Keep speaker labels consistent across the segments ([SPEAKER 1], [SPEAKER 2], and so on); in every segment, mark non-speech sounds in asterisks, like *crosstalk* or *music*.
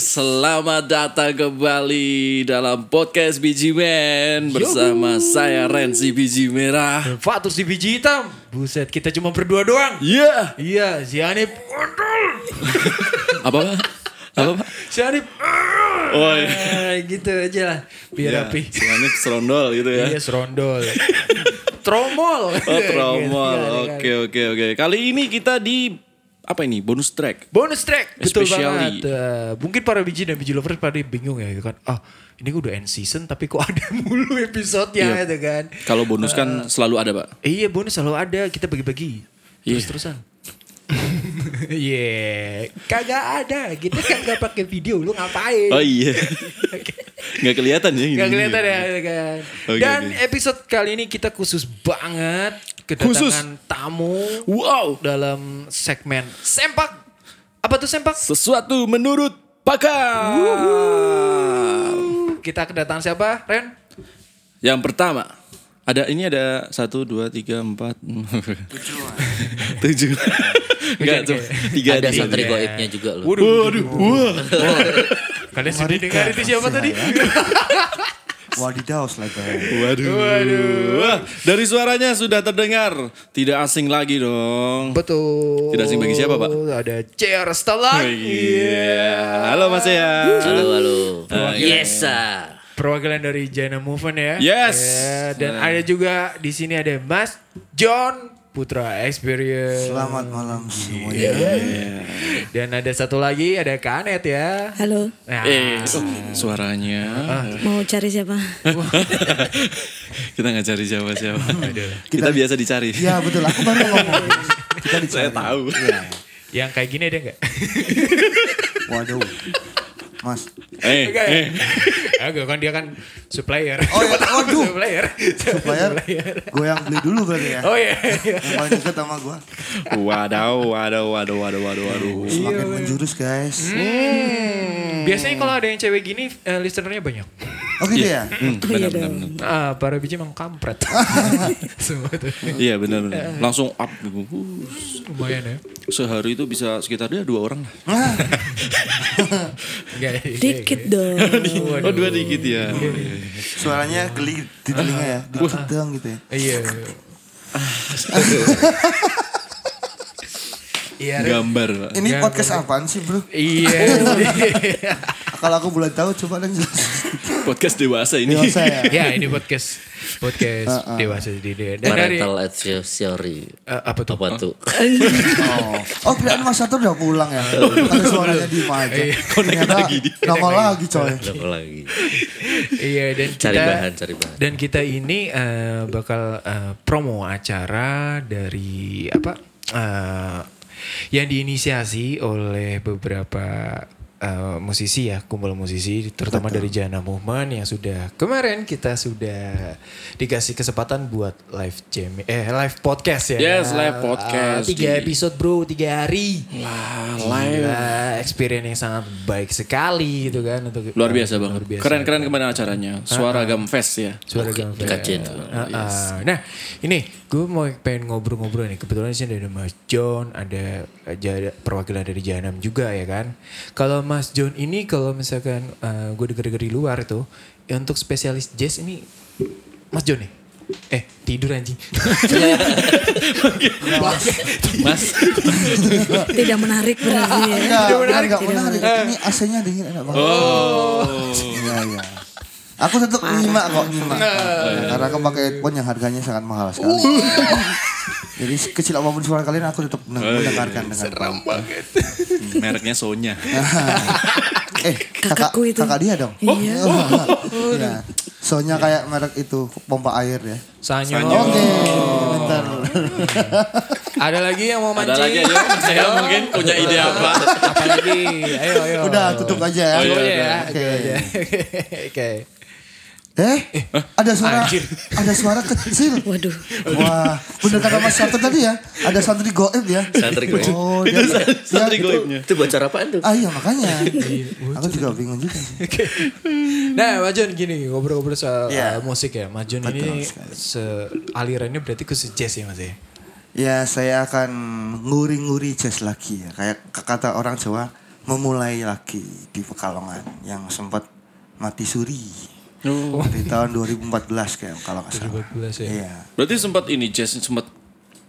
[SPEAKER 1] Selamat datang kembali dalam podcast Biji Men bersama saya Rensi Biji Merah.
[SPEAKER 2] Fatur si biji hitam. Buset, kita cuma berdua doang.
[SPEAKER 1] Iya.
[SPEAKER 2] Iya, si Hanif.
[SPEAKER 1] Apa Pak? Apa Pak?
[SPEAKER 2] Si Hanif.
[SPEAKER 1] Oh, iya.
[SPEAKER 2] Ah, gitu aja lah. Biar rapi.
[SPEAKER 1] si Hanif Iya. serondol gitu ya.
[SPEAKER 2] Iya, serondol. Tromol.
[SPEAKER 1] *laughs* Oh, tromol.
[SPEAKER 2] Gitu,
[SPEAKER 1] Oke,
[SPEAKER 2] kan.
[SPEAKER 1] oke, oke. Kali ini kita di apa ini? Bonus track.
[SPEAKER 2] Bonus track. Betul
[SPEAKER 1] Especially.
[SPEAKER 2] banget. Eh, mungkin para biji dan biji lovers pada bingung ya gitu kan. Ah, ini udah end season tapi kok ada *laughs* mulu
[SPEAKER 1] Iya.
[SPEAKER 2] episode-nya gitu kan.
[SPEAKER 1] Kalau bonus kan selalu ada, Pak.
[SPEAKER 2] Eh, iya, bonus selalu ada. Kita bagi-bagi.
[SPEAKER 1] Iya.
[SPEAKER 2] Terus-terusan. *laughs* Iya, kagak ada. Kita kagak pakai video, lu ngapain?
[SPEAKER 1] Oh
[SPEAKER 2] *laughs*
[SPEAKER 1] iya. Nggak kelihatan ya ini.
[SPEAKER 2] Gak kelihatan ya gitu kan.
[SPEAKER 1] Oke,
[SPEAKER 2] Dan
[SPEAKER 1] oke.
[SPEAKER 2] episode kali ini kita khusus banget kedatangan tamu
[SPEAKER 1] Wow,
[SPEAKER 2] dalam segmen sempak. Apa tuh sempak?
[SPEAKER 1] sesuatu menurut pakar.
[SPEAKER 2] Kita kedatangan siapa, Ren?
[SPEAKER 1] Yang pertama ada ini ada satu dua tiga empat *laughs* tujuh enggak
[SPEAKER 2] Hujan,
[SPEAKER 1] cuma
[SPEAKER 2] kayak.
[SPEAKER 1] tiga
[SPEAKER 3] ada
[SPEAKER 1] tiga.
[SPEAKER 3] santri goibnya juga loh.
[SPEAKER 2] Waduh, waduh, Kalian sudah dengar itu siapa tadi?
[SPEAKER 4] Wadidaw selebar.
[SPEAKER 1] waduh Wah, dari suaranya sudah terdengar tidak asing lagi dong
[SPEAKER 2] Betul.
[SPEAKER 1] Tidak asing bagi siapa, Pak?
[SPEAKER 2] Ada CR Stelan.
[SPEAKER 1] Oh, iya halo mas ya
[SPEAKER 3] Halo halo. Eh, yes sir.
[SPEAKER 2] Perwakilan dari Jana Movement ya.
[SPEAKER 1] Yes. Nah.
[SPEAKER 2] Ya, dan ada juga di sini ada Mas John Putra Experience.
[SPEAKER 4] Selamat malam
[SPEAKER 1] Iya,
[SPEAKER 4] semuanya.
[SPEAKER 2] Dan ada satu lagi ada Kanet ya.
[SPEAKER 5] Halo,
[SPEAKER 2] Nah,
[SPEAKER 1] eh
[SPEAKER 3] Ah,
[SPEAKER 1] su- suaranya
[SPEAKER 5] mau cari siapa?
[SPEAKER 1] *laughs* kita nggak cari siapa siapa kita biasa dicari
[SPEAKER 4] Ya betul, aku baru ngomong. Kita
[SPEAKER 1] saya
[SPEAKER 4] dicari.
[SPEAKER 1] tahu
[SPEAKER 2] yang kayak gini ada nggak?
[SPEAKER 4] Waduh. Mas.
[SPEAKER 1] eh
[SPEAKER 2] Enggak ya? *laughs*
[SPEAKER 1] eh
[SPEAKER 2] Agak kan dia kan supplier.
[SPEAKER 4] Oh,
[SPEAKER 2] *laughs*
[SPEAKER 4] iya. Waduh.
[SPEAKER 2] supplier.
[SPEAKER 4] Supplier, gue yang beli dulu berarti ya.
[SPEAKER 2] Oh iya.
[SPEAKER 4] Yang paling deket sama gue.
[SPEAKER 1] waduh waduh waduh waduh waduh waduh
[SPEAKER 3] Oh, iya
[SPEAKER 4] Semakin menjurus guys.
[SPEAKER 2] Biasanya kalau ada yang cewek gini eh, listenernya banyak.
[SPEAKER 4] Oh gitu ya?
[SPEAKER 1] Hmm.
[SPEAKER 5] Oh iya dong.
[SPEAKER 2] Ah, para biji emang kampret. Semua tuh.
[SPEAKER 1] Iya benar benar. Langsung up gitu. Uh,
[SPEAKER 2] Lumayan ya.
[SPEAKER 1] Sehari itu bisa sekitar dia dua orang lah.
[SPEAKER 2] Enggak. iya,
[SPEAKER 5] Dikit dong.
[SPEAKER 2] *laughs*
[SPEAKER 1] Oh dua dikit ya.
[SPEAKER 4] Suaranya geli di telinga ya. Diketeng gitu ya.
[SPEAKER 2] Iya. Iya. Ren.
[SPEAKER 1] Gambar. Pak.
[SPEAKER 4] Ini
[SPEAKER 2] Enggak,
[SPEAKER 4] podcast apaan sih bro?
[SPEAKER 2] Iya.
[SPEAKER 4] Kalau aku boleh tahu coba dan jelas.
[SPEAKER 1] Podcast dewasa ini.
[SPEAKER 4] Dewasa *laughs* ya?
[SPEAKER 2] Ya ini podcast podcast dewasa di dan dari
[SPEAKER 3] Parental advisory.
[SPEAKER 2] Eh, apa tuh?
[SPEAKER 3] Apa
[SPEAKER 1] *laughs*
[SPEAKER 3] tuh?
[SPEAKER 4] Oh kirain Mas Satur udah pulang ya? Tapi suaranya di aja. Ternyata
[SPEAKER 1] Iya. lagi dia.
[SPEAKER 4] nongol lagi coy.
[SPEAKER 3] Apa lagi?
[SPEAKER 2] Iya dan
[SPEAKER 3] Cari
[SPEAKER 2] kita
[SPEAKER 3] bahan, cari bahan.
[SPEAKER 2] dan kita ini eh, bakal eh, promo acara dari apa eh, yang diinisiasi oleh beberapa eh, musisi ya kumpul musisi terutama dari Jana Movement yang sudah kemarin kita sudah dikasih kesempatan buat live jam eh live podcast ya
[SPEAKER 1] Yes, live podcast
[SPEAKER 2] Ah, tiga
[SPEAKER 1] di-
[SPEAKER 2] episode bro tiga hari live experience yang sangat baik sekali gitu kan untuk
[SPEAKER 1] Luar biasa bang.
[SPEAKER 2] Luar biasa.
[SPEAKER 1] Keren keren kemana acaranya.
[SPEAKER 4] Ah.
[SPEAKER 1] Suara Gamfest
[SPEAKER 4] *laughs*
[SPEAKER 1] ya.
[SPEAKER 2] Suara Gang Fair.
[SPEAKER 3] kajian.
[SPEAKER 2] Ah, ah. Nah, ini gue mau pengen ngobrol-ngobrol nih. Kebetulan di sini ada Mas John, ada eh, jada- perwakilan dari Janam juga ya kan. Kalau Mas John ini kalau misalkan eh, gue denger dari luar tuh, ya untuk spesialis jazz ini Mas John nih. Eh, tidur
[SPEAKER 1] *laughs*
[SPEAKER 2] anjing.
[SPEAKER 1] Mas.
[SPEAKER 5] Tidak menarik berarti ya.
[SPEAKER 4] Enggak,
[SPEAKER 2] Tidak
[SPEAKER 4] enggak,
[SPEAKER 2] menarik,
[SPEAKER 4] enggak
[SPEAKER 2] tidak
[SPEAKER 4] menarik.
[SPEAKER 5] Eh.
[SPEAKER 4] Ini AC-nya dingin enak banget. Iya, iya. Aku tetap nyimak kok, nyimak. Ya, Karena aku pakai headphone yang harganya sangat mahal sekali. Jadi kecil apapun suara kalian aku tetap men- mendengarkan dengan seram banget.
[SPEAKER 1] Mereknya Sonya.
[SPEAKER 4] eh, kakak,
[SPEAKER 5] Kakakku itu.
[SPEAKER 4] kakak dia dong. Oh,
[SPEAKER 5] Iya.
[SPEAKER 4] *laughs* Iya. Soalnya kayak merek itu pompa air ya.
[SPEAKER 2] Sanyo.
[SPEAKER 4] Oke, bentar.
[SPEAKER 2] Ada lagi yang mau
[SPEAKER 1] Ada
[SPEAKER 2] mancing?
[SPEAKER 1] lagi aja.
[SPEAKER 2] *laughs*
[SPEAKER 1] Mas Saya mungkin punya ide apa?
[SPEAKER 2] Apalagi? Ayo, ayo.
[SPEAKER 4] Udah tutup aja ya.
[SPEAKER 1] Oh, iya,
[SPEAKER 2] Oke ya.
[SPEAKER 1] udah.
[SPEAKER 2] Oke.
[SPEAKER 4] Oke.
[SPEAKER 2] Oke.
[SPEAKER 4] Eh, ada suara,
[SPEAKER 2] Anjir.
[SPEAKER 4] ada suara kecil.
[SPEAKER 5] Waduh.
[SPEAKER 4] Wah, bener kata Mas Sabtu tadi ya, ada santri goib ya.
[SPEAKER 3] Santri goib.
[SPEAKER 4] Oh, dia,
[SPEAKER 1] Santri
[SPEAKER 4] dia-
[SPEAKER 1] goibnya.
[SPEAKER 3] Ya, Itu bocor apaan tuh?
[SPEAKER 4] Ah iya makanya. Aku juga bingung juga. sih.
[SPEAKER 2] Nah, Mas Jun gini ngobrol-ngobrol soal uh,
[SPEAKER 4] Iya.
[SPEAKER 2] musik ya. Mas Jun
[SPEAKER 4] Betul
[SPEAKER 2] ini
[SPEAKER 4] sekali.
[SPEAKER 2] se- alirannya berarti ke jazz ya Mas ya?
[SPEAKER 4] Ya saya akan nguri-nguri jazz lagi ya. Kayak kata orang Jawa, memulai lagi di Pekalongan yang sempat mati suri
[SPEAKER 1] Oh.
[SPEAKER 4] di tahun 2014 kayak kalau nggak salah.
[SPEAKER 2] 2014 ya.
[SPEAKER 4] Iya.
[SPEAKER 1] Berarti sempat ini jazz sempat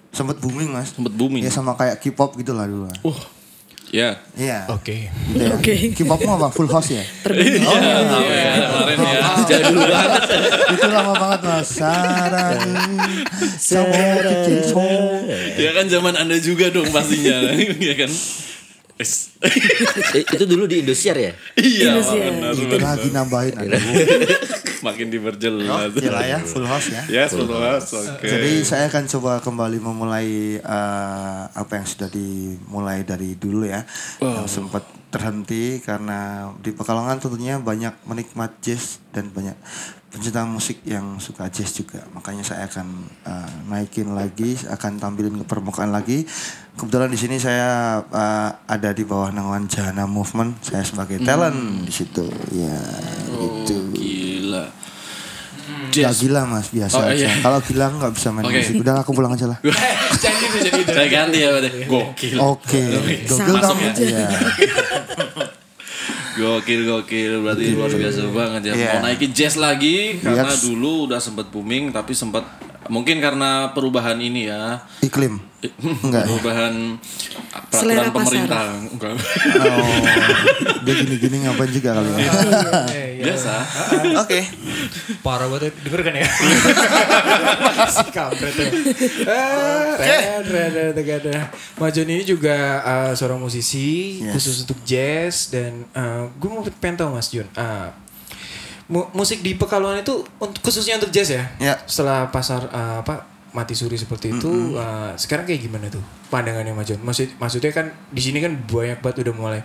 [SPEAKER 4] Sempat booming mas.
[SPEAKER 1] sempat booming.
[SPEAKER 4] Ya sama kayak K-pop gitu lah dulu. lah.
[SPEAKER 1] Wah. uh, Ya.
[SPEAKER 4] Iya.
[SPEAKER 2] *laughs* Oke.
[SPEAKER 4] Gitu ya.
[SPEAKER 5] Oke.
[SPEAKER 4] K-popmu apa? Full house ya?
[SPEAKER 1] Iya, kemarin ya. Jadul banget.
[SPEAKER 4] Itu lama banget mas. Sarang. Sarang.
[SPEAKER 1] Ya kan zaman Anda juga dong *laughs* pastinya. Iya kan? Es.
[SPEAKER 3] Eh, itu dulu di Indosiar ya?
[SPEAKER 1] Iya,
[SPEAKER 5] Indosiar.
[SPEAKER 1] benar.
[SPEAKER 4] Itu Gitu. lagi nambahin. aduh.
[SPEAKER 1] Makin diperjelas.
[SPEAKER 4] Oh, jelas ya. Full house ya.
[SPEAKER 1] Ya, setelah oke.
[SPEAKER 4] Jadi saya akan coba kembali memulai eh, apa yang sudah dimulai dari dulu ya.
[SPEAKER 1] Oh.
[SPEAKER 4] Yang sempat terhenti karena di Pekalongan tentunya banyak menikmat jazz dan banyak pencinta musik yang suka jazz juga. Makanya saya akan eh, naikin lagi, akan tampilin ke permukaan lagi. Kebetulan di sini saya eh, ada di bawah naungan Jana Movement. Saya
[SPEAKER 1] Hmm.
[SPEAKER 4] sebagai talent di situ. Ya, gitu.
[SPEAKER 1] Gila.
[SPEAKER 4] Gak
[SPEAKER 1] Oh. Jazz.
[SPEAKER 4] gila mas biasa
[SPEAKER 1] Oh,
[SPEAKER 4] aja.
[SPEAKER 1] iya.
[SPEAKER 4] Kalau gila nggak bisa main
[SPEAKER 1] Oke.
[SPEAKER 4] musik. Udah aku pulang aja lah.
[SPEAKER 2] Jangan gitu, jangan gitu.
[SPEAKER 1] Saya ganti ya, berarti. Gokil.
[SPEAKER 4] Oke. Gokil
[SPEAKER 1] ya?
[SPEAKER 5] Sama
[SPEAKER 4] kamu.
[SPEAKER 5] aja.
[SPEAKER 4] Iya.
[SPEAKER 1] Gokil gokil berarti luar biasa banget ya.
[SPEAKER 4] Iya.
[SPEAKER 1] Mau naikin jazz lagi karena
[SPEAKER 4] Yes.
[SPEAKER 1] dulu udah sempat booming tapi sempat mungkin karena perubahan ini ya.
[SPEAKER 4] Iklim. Enggak. ya?
[SPEAKER 1] Perubahan peraturan
[SPEAKER 5] Selera pasar.
[SPEAKER 1] pemerintah. Enggak.
[SPEAKER 4] Oh. Dia gini-gini ngapain juga kali
[SPEAKER 1] Iya.
[SPEAKER 4] ya.
[SPEAKER 2] Eh, iya.
[SPEAKER 1] Biasa.
[SPEAKER 4] Oke.
[SPEAKER 2] Parah banget denger kan *laughs* ya. Masih kampret ya. Ah, Ren, Ren, Ren, Ren, Ren. Mas Joni ini juga eh, seorang musisi
[SPEAKER 4] Yes.
[SPEAKER 2] khusus untuk jazz dan eh, gue mau pengen tahu Mas Jun. eh, mu- musik di Pekalongan itu untuk, khususnya untuk jazz ya.
[SPEAKER 4] Ya.
[SPEAKER 2] Setelah pasar eh, apa mati suri seperti itu eh, sekarang kayak gimana tuh pandangannya Mas Jun? Maksud maksudnya kan di sini kan banyak banget udah mulai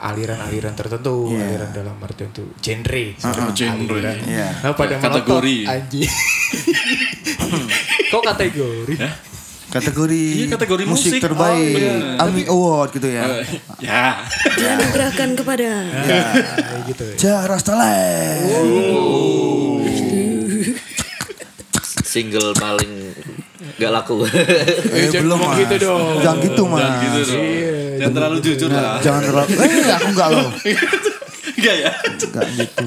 [SPEAKER 2] aliran-aliran tertentu,
[SPEAKER 4] Iya.
[SPEAKER 2] aliran dalam arti itu genre,
[SPEAKER 4] Ah,
[SPEAKER 1] Genre.
[SPEAKER 2] aliran.
[SPEAKER 4] Iya.
[SPEAKER 2] Nah, pada
[SPEAKER 1] Kategori.
[SPEAKER 2] melotot, anjing. Kok kategori?
[SPEAKER 4] Kategori,
[SPEAKER 1] Iya, kategori musik.
[SPEAKER 4] terbaik.
[SPEAKER 1] Oh, iya.
[SPEAKER 4] AMI Award gitu ya.
[SPEAKER 1] Ya.
[SPEAKER 5] Dianugerahkan kepada
[SPEAKER 2] Kayak gitu. ya.
[SPEAKER 4] Jaras
[SPEAKER 1] Oh,
[SPEAKER 4] Talent.
[SPEAKER 3] Single paling gak *laughs* laku.
[SPEAKER 1] iya,
[SPEAKER 4] Eh,
[SPEAKER 2] jangan
[SPEAKER 4] belum
[SPEAKER 2] ngomong
[SPEAKER 4] mas.
[SPEAKER 2] gitu dong.
[SPEAKER 4] Jangan gitu mas. Iya,
[SPEAKER 1] Jangan gitu
[SPEAKER 2] Iya,
[SPEAKER 1] dong. Jangan terlalu jujur lah.
[SPEAKER 4] Jangan terlalu. Eh aku enggak
[SPEAKER 1] *laughs*
[SPEAKER 4] loh.
[SPEAKER 1] Enggak ya.
[SPEAKER 4] Enggak gitu.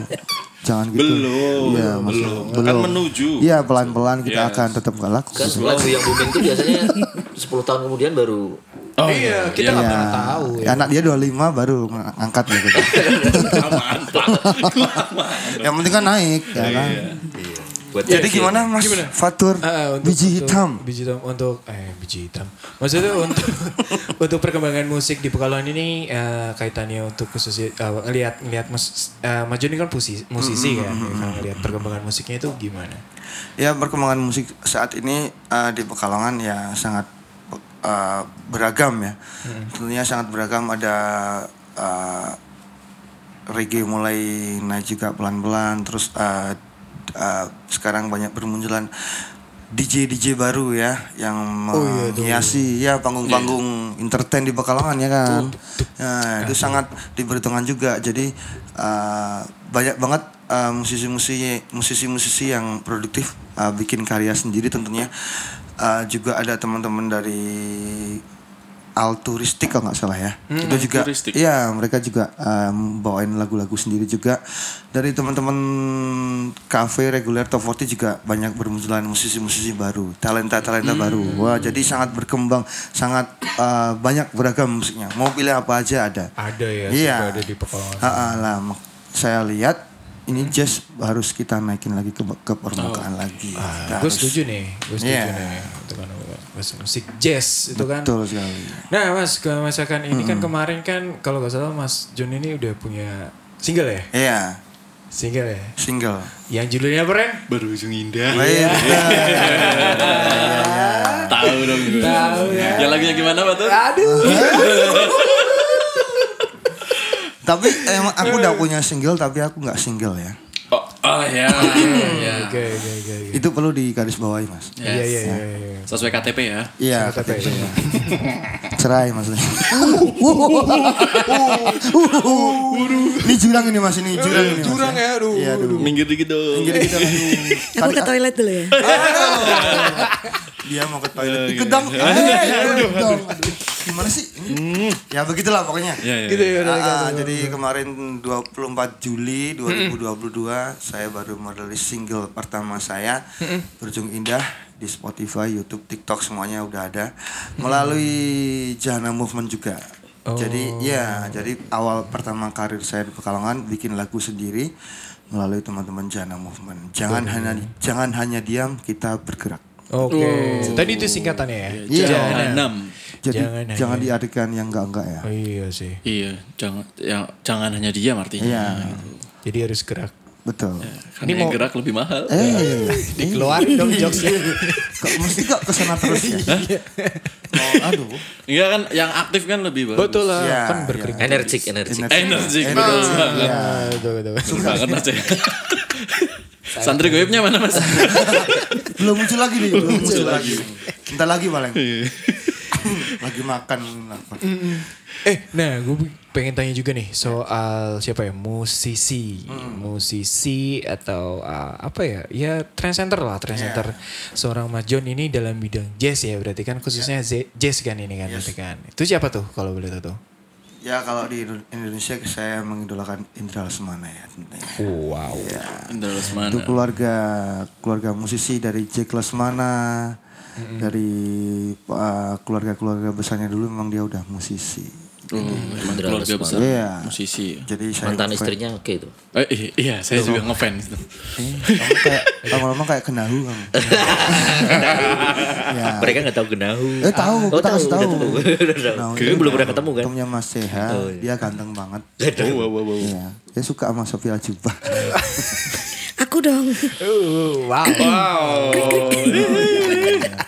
[SPEAKER 4] Jangan gitu.
[SPEAKER 1] Belum,
[SPEAKER 4] Iya, Mas.
[SPEAKER 1] belum. Akan menuju.
[SPEAKER 4] Iya, pelan-pelan kita
[SPEAKER 1] Yes.
[SPEAKER 4] akan tetap gak laku.
[SPEAKER 3] kan lagu yang booming itu biasanya 10 tahun kemudian baru
[SPEAKER 1] Oh,
[SPEAKER 2] iya, kita nggak pernah tahu ya.
[SPEAKER 4] Anak dia 25 baru ng-
[SPEAKER 1] *laughs*
[SPEAKER 4] angkat gitu.
[SPEAKER 1] Kelamaan. Kelamaan.
[SPEAKER 4] Yang penting kan naik ya
[SPEAKER 1] Iya.
[SPEAKER 4] kan.
[SPEAKER 3] buat
[SPEAKER 4] Jadi gimana Mas Fatur
[SPEAKER 2] Ah, untuk-
[SPEAKER 4] biji
[SPEAKER 2] untuk-
[SPEAKER 4] hitam?
[SPEAKER 2] Biji hitam untuk eh biji hitam. Maksudnya untuk *laughs* untuk perkembangan musik di Pekalongan ini eh, kaitannya untuk khusus ngelihat ngelihat mus, eh, Mas Joni kan musisi,
[SPEAKER 4] Hmm,
[SPEAKER 2] musisi kan. Kalau ngelihat perkembangan musiknya itu gimana?
[SPEAKER 4] Ya perkembangan musik saat ini eh, di Pekalongan ya sangat eh, beragam ya.
[SPEAKER 2] Hmm.
[SPEAKER 4] Tentunya sangat beragam ada eh, reggae mulai naik juga pelan-pelan terus eh, eh, sekarang banyak bermunculan DJ DJ baru ya yang menghiasi ya panggung-panggung entertain di Pekalongan ya kan. Nah, itu sangat diperhitungkan juga. Jadi eh, banyak banget eh, musisi-musisi musisi-musisi yang produktif eh, bikin karya sendiri tentunya. Eh, juga ada teman-teman dari alturistik kalau nggak salah ya. itu juga
[SPEAKER 1] Alturistik.
[SPEAKER 4] iya mereka juga em, bawain lagu-lagu sendiri juga dari teman-teman kafe reguler top 40 juga banyak bermunculan musisi-musisi baru, talenta-talenta
[SPEAKER 2] Hmm.
[SPEAKER 4] baru. Wah, jadi sangat berkembang, sangat eh, banyak beragam musiknya. Mau pilih apa aja ada.
[SPEAKER 2] Ada
[SPEAKER 4] Iya.
[SPEAKER 2] ya, sudah ada di Pekalongan.
[SPEAKER 4] Ah, ah, lah, mak- saya lihat ini jazz harus kita naikin lagi ke, ke permukaan lagi.
[SPEAKER 2] gue
[SPEAKER 4] Kita
[SPEAKER 2] Oh.
[SPEAKER 4] harus-
[SPEAKER 2] Ah, setuju nih, gue setuju
[SPEAKER 4] Ah, Iya.
[SPEAKER 2] nih. Itu kan musik- musik jazz itu kan.
[SPEAKER 4] Betul sekali.
[SPEAKER 2] Nah mas, ke masakan ini kan kemarin kan kalau nggak salah mas Jun ini udah punya single ya?
[SPEAKER 4] Iya,
[SPEAKER 2] Single ya?
[SPEAKER 4] single.
[SPEAKER 2] Yang judulnya apa Ren?
[SPEAKER 1] Berujung
[SPEAKER 2] Iya.
[SPEAKER 1] indah.
[SPEAKER 4] Baik.
[SPEAKER 2] *laughs*
[SPEAKER 1] Tahu dong. Tahu ya. Ya lagunya gimana, Pak Tuh?
[SPEAKER 2] Ah.
[SPEAKER 4] Tapi emang aku udah
[SPEAKER 2] Eh.
[SPEAKER 4] punya single tapi aku nggak single ya.
[SPEAKER 1] Oh, oh ya. ya, ya.
[SPEAKER 2] Oke oke oke. oke.
[SPEAKER 4] Itu perlu digarisbawahi mas.
[SPEAKER 1] Yes.
[SPEAKER 2] Iya iya iya. iya.
[SPEAKER 1] Sesuai KTP ya.
[SPEAKER 4] Iya.
[SPEAKER 2] Kata apa ya?
[SPEAKER 4] Cerai maksudnya.
[SPEAKER 2] *laughs*
[SPEAKER 4] ini jurang ini mas ini jurang ini. Mas,
[SPEAKER 2] Curang ya, aduh.
[SPEAKER 4] Iya dulu.
[SPEAKER 1] Minggir dikit dong.
[SPEAKER 5] Aku ke toilet dulu ya
[SPEAKER 1] Iya, *laughs*
[SPEAKER 4] Dia mau ke toilet. Ikut dong. Eh, ikut dong. gimana sih? Ini? Ya begitulah pokoknya.
[SPEAKER 1] Hmm. Iya, iya, Hmm.
[SPEAKER 2] Gitu ya,
[SPEAKER 4] Ah,
[SPEAKER 2] udah
[SPEAKER 4] ah, jadi kemarin 24 Juli 2022 saya baru merilis single pertama saya
[SPEAKER 1] Hmm.
[SPEAKER 4] Berujung Indah di Spotify, YouTube, TikTok semuanya udah ada melalui Jana Movement juga.
[SPEAKER 1] Oh.
[SPEAKER 4] Jadi ya, jadi awal pertama karir saya di Pekalongan bikin lagu sendiri melalui teman-teman Jana Movement. Jangan hanya jangan hanya diam, kita bergerak.
[SPEAKER 2] Oke. Tadi itu singkatannya ya.
[SPEAKER 4] Iya.
[SPEAKER 1] Jahanam.
[SPEAKER 4] Jadi
[SPEAKER 2] Jangan
[SPEAKER 4] jangan,
[SPEAKER 2] hanya-
[SPEAKER 4] diartikan yang enggak-enggak ya.
[SPEAKER 2] Oh, iya sih.
[SPEAKER 1] Iya, jangan ya, jangan hanya diam artinya.
[SPEAKER 4] Iya,
[SPEAKER 2] Jadi harus gerak.
[SPEAKER 4] betul.
[SPEAKER 1] Karena yang gerak lebih mahal.
[SPEAKER 4] Eh,
[SPEAKER 2] Dikeluarin dong jokesnya.
[SPEAKER 4] kok mesti kok kesana terus ya? Oh, aduh.
[SPEAKER 1] Enggak kan yang aktif kan lebih bagus.
[SPEAKER 2] Betul lah.
[SPEAKER 4] Iya,
[SPEAKER 2] kan
[SPEAKER 4] iya.
[SPEAKER 2] berkeringat.
[SPEAKER 3] Energik, energik.
[SPEAKER 1] Energi
[SPEAKER 4] Energi,
[SPEAKER 1] betul banget.
[SPEAKER 4] iya.
[SPEAKER 2] Ah, betul, betul, betul.
[SPEAKER 1] Betul banget Mas. ya. Santri goibnya mana Mas?
[SPEAKER 4] Belum muncul lagi nih, belum muncul lagi. Entar lagi paling. *laughs* lagi makan lapar.
[SPEAKER 2] Eh, nah gue pengen tanya juga nih soal siapa ya musisi, musisi atau uh, apa ya? Ya trendsetter lah, trendsetter. Seorang Mas John ini dalam bidang jazz ya berarti kan khususnya ze- jazz kan ini kan berarti kan. Itu siapa tuh kalau boleh tahu tuh?
[SPEAKER 4] Ya kalau di Indo- Indonesia saya mengidolakan Indra Lesmana ya tentunya.
[SPEAKER 2] Wow.
[SPEAKER 1] Indra
[SPEAKER 4] Itu
[SPEAKER 1] Lesmana.
[SPEAKER 4] keluarga keluarga musisi dari Jack Lesmana. Dari uh, keluarga-keluarga besarnya dulu memang dia udah musisi.
[SPEAKER 1] Oh, emang keluarga besar
[SPEAKER 4] Iya.
[SPEAKER 1] musisi.
[SPEAKER 4] Jadi saya
[SPEAKER 3] Mantan istrinya oke itu.
[SPEAKER 1] Eh, i- iya, saya juga ngefans.
[SPEAKER 4] Eh, kamu kayak lama-lama kayak kenahu
[SPEAKER 3] *laughs*
[SPEAKER 4] kamu. ya.
[SPEAKER 3] Mereka nggak tahu genahu.
[SPEAKER 4] Eh tahu,
[SPEAKER 3] Oh,
[SPEAKER 4] kita kasih tahu.
[SPEAKER 3] udah Udah tahu.
[SPEAKER 4] Nah,
[SPEAKER 3] Gue
[SPEAKER 4] itu
[SPEAKER 3] belum pernah ketemu kan. iya.
[SPEAKER 4] Temennya Mas Seha, dia ganteng banget.
[SPEAKER 1] Oh, wow, wow, wow.
[SPEAKER 4] Iya, dia suka sama Sophia Lajuba.
[SPEAKER 3] *laughs*
[SPEAKER 5] Aku dong.
[SPEAKER 2] wow.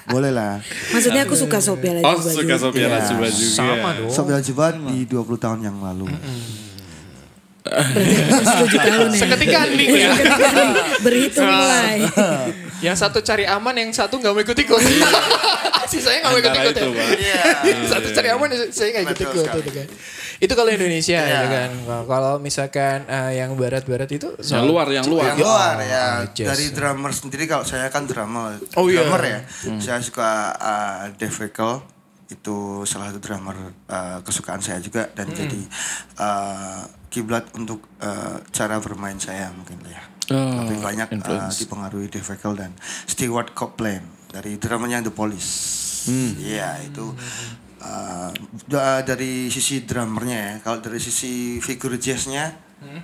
[SPEAKER 4] Boleh lah.
[SPEAKER 5] Maksudnya aku suka Sophia lagi.
[SPEAKER 1] Oh,
[SPEAKER 5] baju.
[SPEAKER 1] suka Sophia
[SPEAKER 4] Iya.
[SPEAKER 1] Lajuba juga.
[SPEAKER 2] Sama dong.
[SPEAKER 4] Sophia Lajuba di 20 tahun yang lalu.
[SPEAKER 2] Seketika nih ya.
[SPEAKER 5] *laughs* Berhitung mulai.
[SPEAKER 2] Yang satu cari aman, yang satu nggak mau ikut ikut. *laughs* si saya nggak mau ikut
[SPEAKER 1] Antara
[SPEAKER 2] ikut.
[SPEAKER 1] itu,
[SPEAKER 2] ya.
[SPEAKER 1] Pak.
[SPEAKER 2] *laughs* satu cari aman, saya nggak ikut
[SPEAKER 4] Betul
[SPEAKER 2] ikut.
[SPEAKER 4] sekali. Iya.
[SPEAKER 2] Itu, kan. itu kalau Indonesia ya kan. Kalau- Kalau misalkan eh, yang barat-barat itu
[SPEAKER 1] Yang Nah, luar, yang luar.
[SPEAKER 4] Yang luar
[SPEAKER 2] Oh,
[SPEAKER 4] ya.
[SPEAKER 2] jazz.
[SPEAKER 4] Dari drummer sendiri kalau saya kan drummer.
[SPEAKER 2] Oh, iya.
[SPEAKER 4] drummer ya. Saya suka uh, Dave Weckl itu salah satu drummer uh, kesukaan saya juga
[SPEAKER 2] Hmm.
[SPEAKER 4] dan jadi uh, kiblat untuk uh, cara bermain saya mungkin ya.
[SPEAKER 1] Oh,
[SPEAKER 4] Lebih banyak uh,
[SPEAKER 1] influence.
[SPEAKER 4] dipengaruhi Dave Weckl dan Stewart Copeland dari drummernya The Police.
[SPEAKER 1] Hmm.
[SPEAKER 4] Iya itu uh, da- dari sisi drummernya ya. Kalau dari sisi figur jazznya
[SPEAKER 2] Hmm.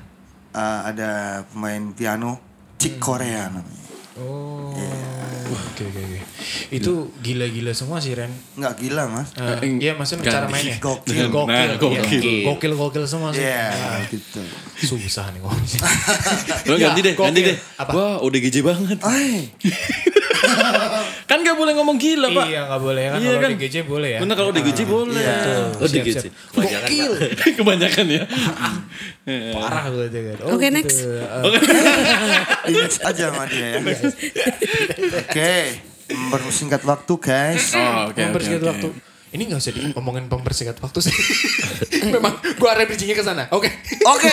[SPEAKER 4] uh, ada pemain piano Chick
[SPEAKER 2] Hmm.
[SPEAKER 4] Korea namanya.
[SPEAKER 2] Oh. Oke oke oke. Itu gila-gila semua sih Ren.
[SPEAKER 4] Nggak gila mas.
[SPEAKER 2] Eh,
[SPEAKER 1] Eh,
[SPEAKER 2] Iya maksudnya
[SPEAKER 1] ganti.
[SPEAKER 2] cara mainnya.
[SPEAKER 4] Gokil.
[SPEAKER 1] Nah,
[SPEAKER 2] Gokil.
[SPEAKER 1] gokil.
[SPEAKER 2] Gokil gokil semua sih.
[SPEAKER 4] Iya
[SPEAKER 2] Ah,
[SPEAKER 4] gitu.
[SPEAKER 2] Susah nih ngomong *laughs* sih.
[SPEAKER 1] Lo ganti
[SPEAKER 2] Ya,
[SPEAKER 1] deh, ganti
[SPEAKER 2] gokil.
[SPEAKER 1] deh.
[SPEAKER 2] Apa?
[SPEAKER 1] Wah, udah GJ banget.
[SPEAKER 4] Ay,
[SPEAKER 1] Kan gak boleh ngomong gila, Pak.
[SPEAKER 2] Iya nggak boleh kan.
[SPEAKER 1] Iya
[SPEAKER 2] Kalau
[SPEAKER 1] kan?
[SPEAKER 2] di GC boleh ya.
[SPEAKER 1] Bener kalau udah GJ boleh.
[SPEAKER 3] Oh, di gitu. Kebanyakan,
[SPEAKER 2] Gokil.
[SPEAKER 1] Iya, *laughs* Kebanyakan ya.
[SPEAKER 2] Parah gue tuh kan.
[SPEAKER 5] Oke, next.
[SPEAKER 2] Eh,
[SPEAKER 4] di next aja sama dia ya.
[SPEAKER 2] Iya.
[SPEAKER 4] Oke, mempersingkat waktu guys.
[SPEAKER 1] Oh, oke. oke,
[SPEAKER 2] mempersingkat
[SPEAKER 1] oke.
[SPEAKER 2] waktu. Ini nggak usah diomongin pempersingkat waktu *laughs* sih. Memang gua ada bridgingnya ke sana. Oke.
[SPEAKER 4] Oke.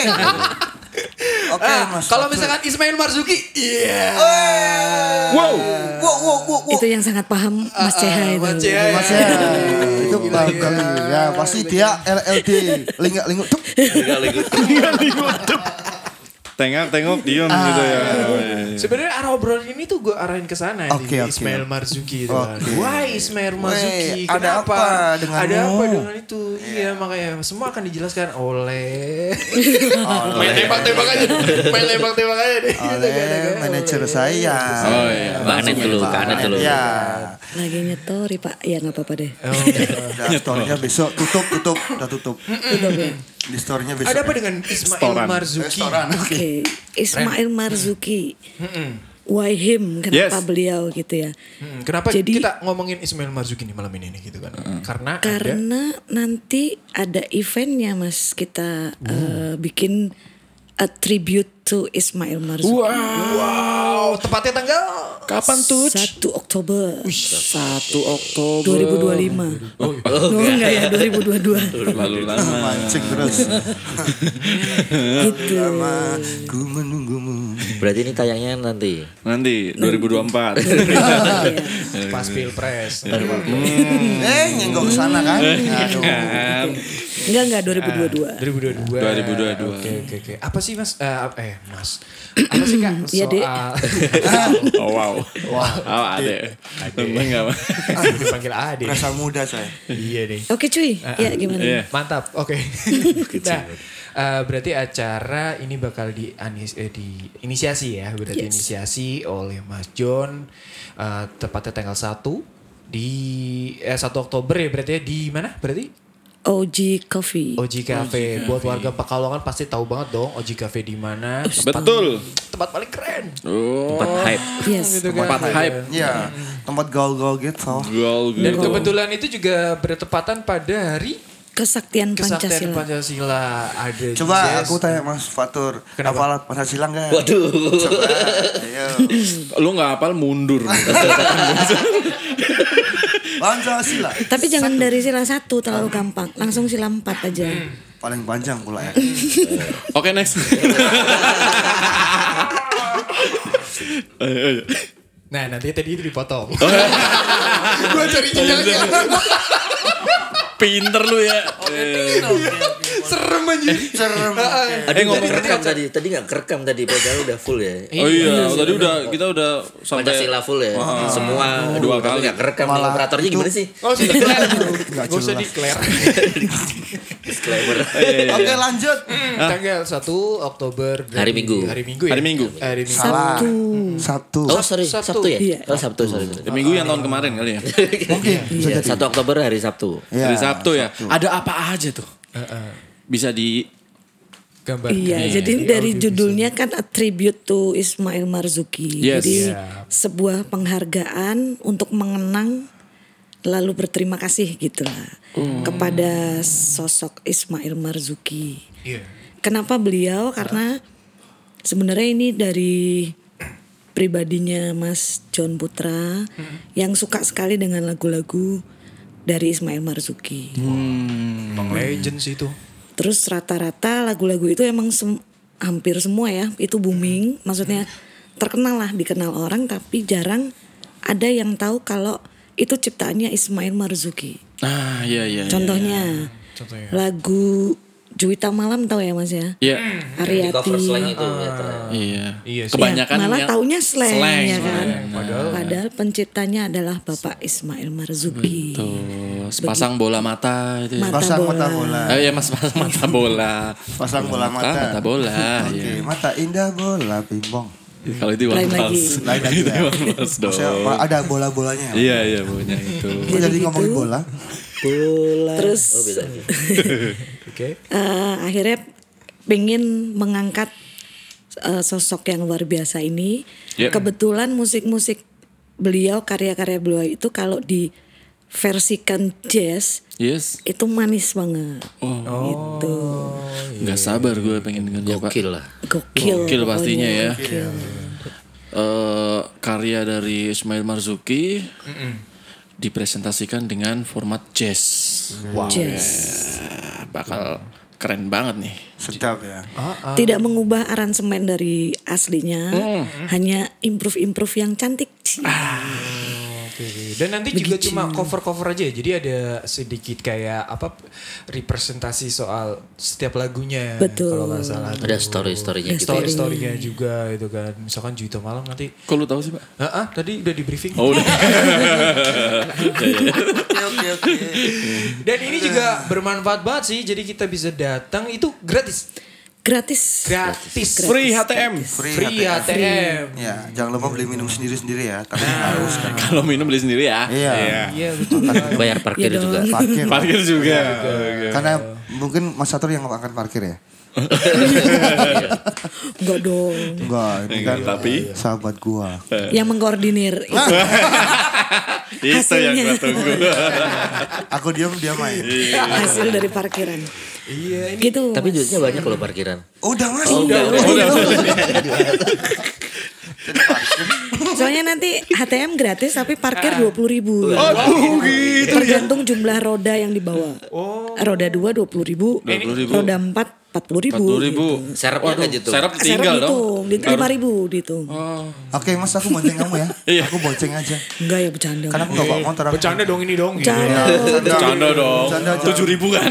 [SPEAKER 4] Oke
[SPEAKER 2] Ah,
[SPEAKER 4] Eh, mas.
[SPEAKER 2] kalau misalkan Ismail Marzuki, iya.
[SPEAKER 1] Wow.
[SPEAKER 4] Wow, wow, wow, wow.
[SPEAKER 5] Itu yang sangat paham Mas Ceha itu.
[SPEAKER 2] Mas Ceha ya.
[SPEAKER 4] Mas ya, itu bangga ya pasti dia LLD linggak linggup tuh
[SPEAKER 1] Tengok-tengok diem gitu ya. Oh, iya, iya.
[SPEAKER 2] Sebenarnya arah obrolan ini tuh gue arahin ke sana
[SPEAKER 4] Oke,
[SPEAKER 2] jadi
[SPEAKER 4] oke.
[SPEAKER 2] Ismail Marzuki itu. kan.
[SPEAKER 4] Oke.
[SPEAKER 2] Why Ismail Marzuki?
[SPEAKER 4] Wey, ada
[SPEAKER 2] Kenapa?
[SPEAKER 4] apa denganmu?
[SPEAKER 2] Ada apa dengan itu? Iya, makanya semua akan dijelaskan oleh main tembak-tembak aja. Main tembak-tembak aja deh. Gitu kan, ada kan.
[SPEAKER 4] oleh manajer saya
[SPEAKER 1] Oh iya.
[SPEAKER 3] Kanan dulu, kanan dulu.
[SPEAKER 4] ya
[SPEAKER 5] Lagi nyetori Pak. Ya nggak apa-apa deh.
[SPEAKER 4] udah store-nya besok tutup tutup udah tutup di store-nya besok
[SPEAKER 2] Ada apa dengan Ismail
[SPEAKER 1] Restoran.
[SPEAKER 2] Marzuki?
[SPEAKER 4] restoran oke
[SPEAKER 5] Oke, Ismail Marzuki. Why him? Kenapa
[SPEAKER 1] Yes.
[SPEAKER 5] beliau gitu ya?
[SPEAKER 2] Hmm, Kenapa
[SPEAKER 5] Jadi-
[SPEAKER 2] kita ngomongin Ismail Marzuki nih malam ini nih gitu kan?
[SPEAKER 4] Hmm.
[SPEAKER 2] Karena, ada
[SPEAKER 5] Karena nanti ada eventnya mas kita eh, bikin a tribute to Ismail Marzuki.
[SPEAKER 2] Wow, tepatnya tanggal
[SPEAKER 1] Kapan tuh?
[SPEAKER 5] 1 Oktober
[SPEAKER 1] 1 Oktober
[SPEAKER 5] 2025. Oh, enggak ya 2022.
[SPEAKER 1] Lalu lama.
[SPEAKER 4] Ah, Mancing terus.
[SPEAKER 5] gitu.
[SPEAKER 4] Lama ku menunggumu.
[SPEAKER 3] Berarti ini tayangnya nanti.
[SPEAKER 1] Nanti 2024.
[SPEAKER 2] pas pilpres.
[SPEAKER 4] Eh nyenggok ke sana kan. Aduh.
[SPEAKER 5] Iya, Enggak enggak
[SPEAKER 2] Ah,
[SPEAKER 5] 2022.
[SPEAKER 2] 2022.
[SPEAKER 1] 2022.
[SPEAKER 2] Oke oke oke. Apa sih mas? Eh, apa- eh
[SPEAKER 5] *clears throat*
[SPEAKER 2] mas. Apa sih kak?
[SPEAKER 5] Iya, Dek.
[SPEAKER 2] *laughs*
[SPEAKER 1] Oh wow. Wow. Oh, ade. Emang enggak. Pak?
[SPEAKER 2] Soal dipanggil Ade.
[SPEAKER 4] Merasa muda saya.
[SPEAKER 2] Iya deh.
[SPEAKER 5] Oke cuy, ya gimana?
[SPEAKER 1] Iya.
[SPEAKER 2] Mantap. Oke. nah, eh, berarti acara ini bakal di, anis- eh, di inisiasi ya, berarti
[SPEAKER 5] Yes.
[SPEAKER 2] inisiasi oleh Mas John eh, tepatnya tanggal 1 di eh, 1 Oktober ya berarti ya di mana? Berarti
[SPEAKER 5] OG Coffee.
[SPEAKER 2] Oji Cafe. Buat warga Pekalongan pasti tahu banget dong Oji Cafe di mana.
[SPEAKER 1] Betul.
[SPEAKER 2] Tempat paling keren.
[SPEAKER 1] Oh.
[SPEAKER 3] Tempat hype.
[SPEAKER 5] Yes.
[SPEAKER 2] Gitu kan.
[SPEAKER 1] Tempat hype.
[SPEAKER 4] Iya, tempat gaul-gaul gitu.
[SPEAKER 1] Gol
[SPEAKER 2] Dan
[SPEAKER 1] gitu.
[SPEAKER 2] kebetulan itu juga bertepatan pada hari
[SPEAKER 5] Kesaktian
[SPEAKER 2] kesaktian
[SPEAKER 5] Pancasila.
[SPEAKER 2] Pancasila. Ada
[SPEAKER 4] Coba
[SPEAKER 2] jazz.
[SPEAKER 4] aku tanya Mas Fatur,
[SPEAKER 2] Kenapa?
[SPEAKER 4] apalah Pancasila enggak?
[SPEAKER 3] Waduh.
[SPEAKER 4] Coba, Iya. ayo.
[SPEAKER 1] Lu enggak hafal mundur.
[SPEAKER 4] Pancasila.
[SPEAKER 5] Tapi jangan dari sila satu terlalu gampang, langsung sila empat aja.
[SPEAKER 4] Paling panjang pula ya.
[SPEAKER 1] Oke *laughs* next. Eh, eh.
[SPEAKER 2] Nah nanti tadi itu dipotong.
[SPEAKER 4] Oh.
[SPEAKER 2] *laughs* Gue cari jenjangnya.
[SPEAKER 1] Pinter lu ya. Eh,
[SPEAKER 2] Serem aja.
[SPEAKER 4] Serem.
[SPEAKER 3] Ada ngomong kerekam tadi. Tadi nggak kerekam tadi. Padahal udah full ya.
[SPEAKER 1] Oh iya, tadi udah kita udah sampai
[SPEAKER 3] Pancasila full ya. Semua.
[SPEAKER 1] Dua
[SPEAKER 3] Dua
[SPEAKER 1] kali.
[SPEAKER 3] kali. Nggak kerekam. nih.
[SPEAKER 4] Malah
[SPEAKER 3] Operatornya
[SPEAKER 4] itu-
[SPEAKER 3] gimana sih?
[SPEAKER 2] Oh sudah declare.
[SPEAKER 4] Nggak
[SPEAKER 2] Gak usah
[SPEAKER 4] jelas.
[SPEAKER 2] declare.
[SPEAKER 3] Disclaimer.
[SPEAKER 1] Iya.
[SPEAKER 4] Oke lanjut.
[SPEAKER 2] Tanggal 1 Oktober. dari-
[SPEAKER 3] Hari Minggu.
[SPEAKER 2] Hari Minggu ya?
[SPEAKER 1] Hari Minggu.
[SPEAKER 2] Hari Minggu.
[SPEAKER 4] Salah.
[SPEAKER 5] Sabtu.
[SPEAKER 4] Sabtu.
[SPEAKER 3] Oh sorry.
[SPEAKER 2] Sabtu.
[SPEAKER 3] Sabtu ya?
[SPEAKER 5] Iya.
[SPEAKER 3] Oh Sabtu. Sorry. sorry.
[SPEAKER 1] minggu yang tahun kemarin kali
[SPEAKER 5] *laughs*
[SPEAKER 1] ya.
[SPEAKER 4] Mungkin. bisa
[SPEAKER 3] Iya,
[SPEAKER 4] jadi.
[SPEAKER 3] 1 Oktober hari Sabtu.
[SPEAKER 4] Iya,
[SPEAKER 1] Hari Sabtu ya. Ada apa aja tuh?
[SPEAKER 2] Heeh.
[SPEAKER 1] Bisa di
[SPEAKER 2] Gambar.
[SPEAKER 5] Iya, jadi dari judulnya kan a tribute to Ismail Marzuki.
[SPEAKER 1] Yes.
[SPEAKER 5] Jadi
[SPEAKER 2] Iya.
[SPEAKER 5] sebuah penghargaan untuk mengenang lalu berterima kasih gitu lah kepada sosok Ismail Marzuki.
[SPEAKER 2] Iya.
[SPEAKER 5] Kenapa beliau? Karena sebenarnya ini dari pribadinya Mas John Putra yang suka sekali dengan lagu-lagu dari Ismail Marzuki.
[SPEAKER 2] Emang legend sih itu.
[SPEAKER 5] Terus rata-rata lagu-lagu itu emang sem- hampir semua ya itu booming, maksudnya terkenal lah dikenal orang tapi jarang ada yang tahu kalau itu ciptaannya Ismail Marzuki.
[SPEAKER 1] Ah, iya iya. iya.
[SPEAKER 5] Contohnya,
[SPEAKER 2] Contohnya.
[SPEAKER 5] lagu Juwita Malam tahu ya Mas ya?
[SPEAKER 1] Iya.
[SPEAKER 3] Di
[SPEAKER 5] Ariati. Iya,
[SPEAKER 3] cover slang itu. ya, ternyata.
[SPEAKER 1] Iya.
[SPEAKER 2] Iya sih.
[SPEAKER 1] Kebanyakan
[SPEAKER 5] malah
[SPEAKER 1] yang-
[SPEAKER 5] taunya slang,
[SPEAKER 1] slang,
[SPEAKER 5] ya kan.
[SPEAKER 1] slang.
[SPEAKER 5] Padahal, penciptanya adalah Bapak Ismail Marzuki.
[SPEAKER 1] Tuh, sepasang bola mata itu. ya.
[SPEAKER 5] Mata
[SPEAKER 4] Pasang mata
[SPEAKER 5] bola.
[SPEAKER 4] bola.
[SPEAKER 1] Ah, iya mas
[SPEAKER 5] *laughs*
[SPEAKER 1] pasang mata bola.
[SPEAKER 4] Pasang bola
[SPEAKER 1] Mata,
[SPEAKER 4] mata.
[SPEAKER 1] mata bola.
[SPEAKER 4] *laughs* Oke,
[SPEAKER 1] iya.
[SPEAKER 4] mata indah bola pingpong.
[SPEAKER 1] Kalau itu Iwan
[SPEAKER 5] Lain lagi.
[SPEAKER 1] Fals.
[SPEAKER 4] Lain lagi
[SPEAKER 1] Itu
[SPEAKER 4] ya.
[SPEAKER 1] Iwan Fals dong.
[SPEAKER 4] Saya Pak, ada bola-bolanya. ya?
[SPEAKER 1] Iya iya punya itu.
[SPEAKER 4] Kok Jadi
[SPEAKER 5] gitu.
[SPEAKER 4] ngomongin bola.
[SPEAKER 3] Bola.
[SPEAKER 5] Terus
[SPEAKER 3] Oh,
[SPEAKER 5] *laughs*
[SPEAKER 3] beda.
[SPEAKER 2] Oke.
[SPEAKER 5] eh, akhirnya pengen mengangkat eh, sosok yang luar biasa ini.
[SPEAKER 1] Yep.
[SPEAKER 5] Kebetulan musik-musik beliau, karya-karya beliau itu kalau diversikan jazz
[SPEAKER 1] Yes.
[SPEAKER 5] itu manis banget. Gitu.
[SPEAKER 1] Gak sabar gue pengen dengerin ya pak.
[SPEAKER 3] Gokil lah.
[SPEAKER 5] Gokil.
[SPEAKER 1] Gokil pastinya
[SPEAKER 5] pokoknya.
[SPEAKER 1] ya. Eh, karya dari Ismail Marzuki dipresentasikan dengan format jazz.
[SPEAKER 5] Iya. Jazz.
[SPEAKER 1] Ah, bakal keren banget nih.
[SPEAKER 4] Sedap ya.
[SPEAKER 5] Tidak mengubah aransemen dari aslinya, hanya improve-improve yang cantik.
[SPEAKER 2] Oke. Dan nanti juga cuma cover-cover aja. ya? Jadi ada sedikit kayak apa representasi soal setiap lagunya.
[SPEAKER 5] Betul.
[SPEAKER 2] Kalau nggak salah.
[SPEAKER 3] Ada story-storynya
[SPEAKER 1] ya.
[SPEAKER 3] gitu.
[SPEAKER 2] story storynya juga itu kan. Misalkan Juito malam nanti.
[SPEAKER 1] Kok lu tahu sih pak?
[SPEAKER 2] Ah, ah, tadi udah di briefing.
[SPEAKER 1] Oh udah. *laughs* iya,
[SPEAKER 4] Oke oke oke.
[SPEAKER 2] Dan ini juga bermanfaat banget sih. Jadi kita bisa datang itu gratis.
[SPEAKER 5] Gratis.
[SPEAKER 2] Gratis.
[SPEAKER 1] Free HTM.
[SPEAKER 4] Free,
[SPEAKER 2] Free
[SPEAKER 4] HTM.
[SPEAKER 2] ATM.
[SPEAKER 4] Ya, jangan lupa beli minum sendiri-sendiri ya, tapi harus kan.
[SPEAKER 1] iya. Kalau minum beli sendiri ya.
[SPEAKER 4] Iya.
[SPEAKER 2] Iya betul.
[SPEAKER 3] Bayar parkir
[SPEAKER 5] Iya
[SPEAKER 3] Gitu juga.
[SPEAKER 4] Parkir.
[SPEAKER 1] Parkir juga.
[SPEAKER 4] Karena mungkin Mas Satur yang akan parkir ya.
[SPEAKER 5] Enggak dong.
[SPEAKER 4] Enggak, ini kan
[SPEAKER 1] Iya, tapi-
[SPEAKER 4] sahabat
[SPEAKER 1] *laughs*
[SPEAKER 4] gua.
[SPEAKER 5] yang mengkoordinir itu.
[SPEAKER 1] Itu yang
[SPEAKER 5] Hasilnya.
[SPEAKER 1] gue tunggu.
[SPEAKER 4] Aku diam dia main.
[SPEAKER 1] Iya.
[SPEAKER 5] hasil dari parkiran. gitu
[SPEAKER 3] Tapi
[SPEAKER 5] Mas.
[SPEAKER 3] duitnya banyak loh parkiran.
[SPEAKER 4] Udah mas.
[SPEAKER 5] soalnya nanti HTM gratis tapi parkir dua puluh ribu Iya. tergantung jumlah roda yang dibawa roda dua dua puluh ribu
[SPEAKER 1] 20.000.
[SPEAKER 5] roda empat empat puluh ribu
[SPEAKER 1] Dua ribu.
[SPEAKER 3] Serepnya kan gitu.
[SPEAKER 1] Serap tinggal dong.
[SPEAKER 5] dihitung, di gitu, lima ribu dihitung
[SPEAKER 4] Oke mas aku bonceng kamu ya.
[SPEAKER 1] Iya.
[SPEAKER 4] Aku bonceng aja.
[SPEAKER 5] enggak ya bercanda
[SPEAKER 4] Karena Kan aku gak bawa motor. aku.
[SPEAKER 2] Bercanda dong ini dong.
[SPEAKER 5] bercanda
[SPEAKER 1] Canda dong.
[SPEAKER 4] Bercanda, jangan.
[SPEAKER 1] Tujuh ribu kan.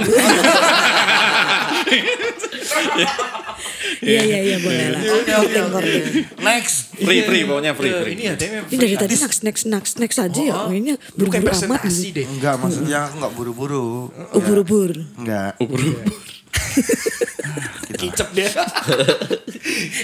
[SPEAKER 5] iya iya iya boleh lah ya. korting korting
[SPEAKER 4] Next.
[SPEAKER 1] Free free pokoknya free free.
[SPEAKER 2] Ini ya temanya
[SPEAKER 5] ini dari tadi snack snack snack snack saja ya kayaknya
[SPEAKER 2] Oh, bukan
[SPEAKER 5] buru-buru amat Oh,
[SPEAKER 2] presentasi deh. Iya. Hmm.
[SPEAKER 4] Enggak maksudnya aku gak buru-buru.
[SPEAKER 5] ubur-ubur
[SPEAKER 4] Enggak.
[SPEAKER 1] Gitu.
[SPEAKER 2] Kicep
[SPEAKER 1] *laughs*
[SPEAKER 2] dia.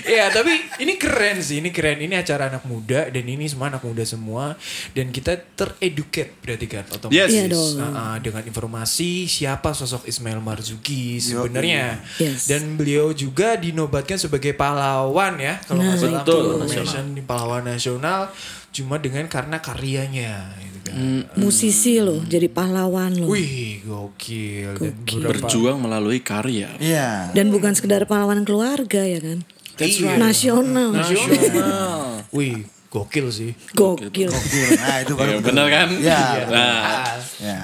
[SPEAKER 2] ya tapi ini keren sih, ini keren. Ini acara anak muda dan ini semua anak muda semua dan kita tereduket berarti kan otomatis
[SPEAKER 1] Yes.
[SPEAKER 5] Iya dong.
[SPEAKER 2] Ah, ah, dengan informasi siapa sosok Ismail Marzuki sebenarnya
[SPEAKER 5] Yes.
[SPEAKER 2] dan beliau juga dinobatkan sebagai pahlawan ya kalau nggak
[SPEAKER 5] Nah,
[SPEAKER 2] salah
[SPEAKER 1] betul.
[SPEAKER 2] Mention di pahlawan nasional cuma dengan karena karyanya gitu kan.
[SPEAKER 1] Hmm.
[SPEAKER 5] musisi loh jadi pahlawan loh
[SPEAKER 2] Wih gokil. Dan beberapa-
[SPEAKER 1] Berjuang melalui karya.
[SPEAKER 4] Iya.
[SPEAKER 5] dan bukan sekedar pahlawan keluarga ya kan
[SPEAKER 2] Iya.
[SPEAKER 5] nasional
[SPEAKER 2] Nasional. Wih, gokil sih.
[SPEAKER 5] *laughs* gokil
[SPEAKER 4] Nah itu
[SPEAKER 1] Iya,
[SPEAKER 4] baru.
[SPEAKER 1] benar kan?
[SPEAKER 4] Iya.
[SPEAKER 1] Nah,
[SPEAKER 4] Ya.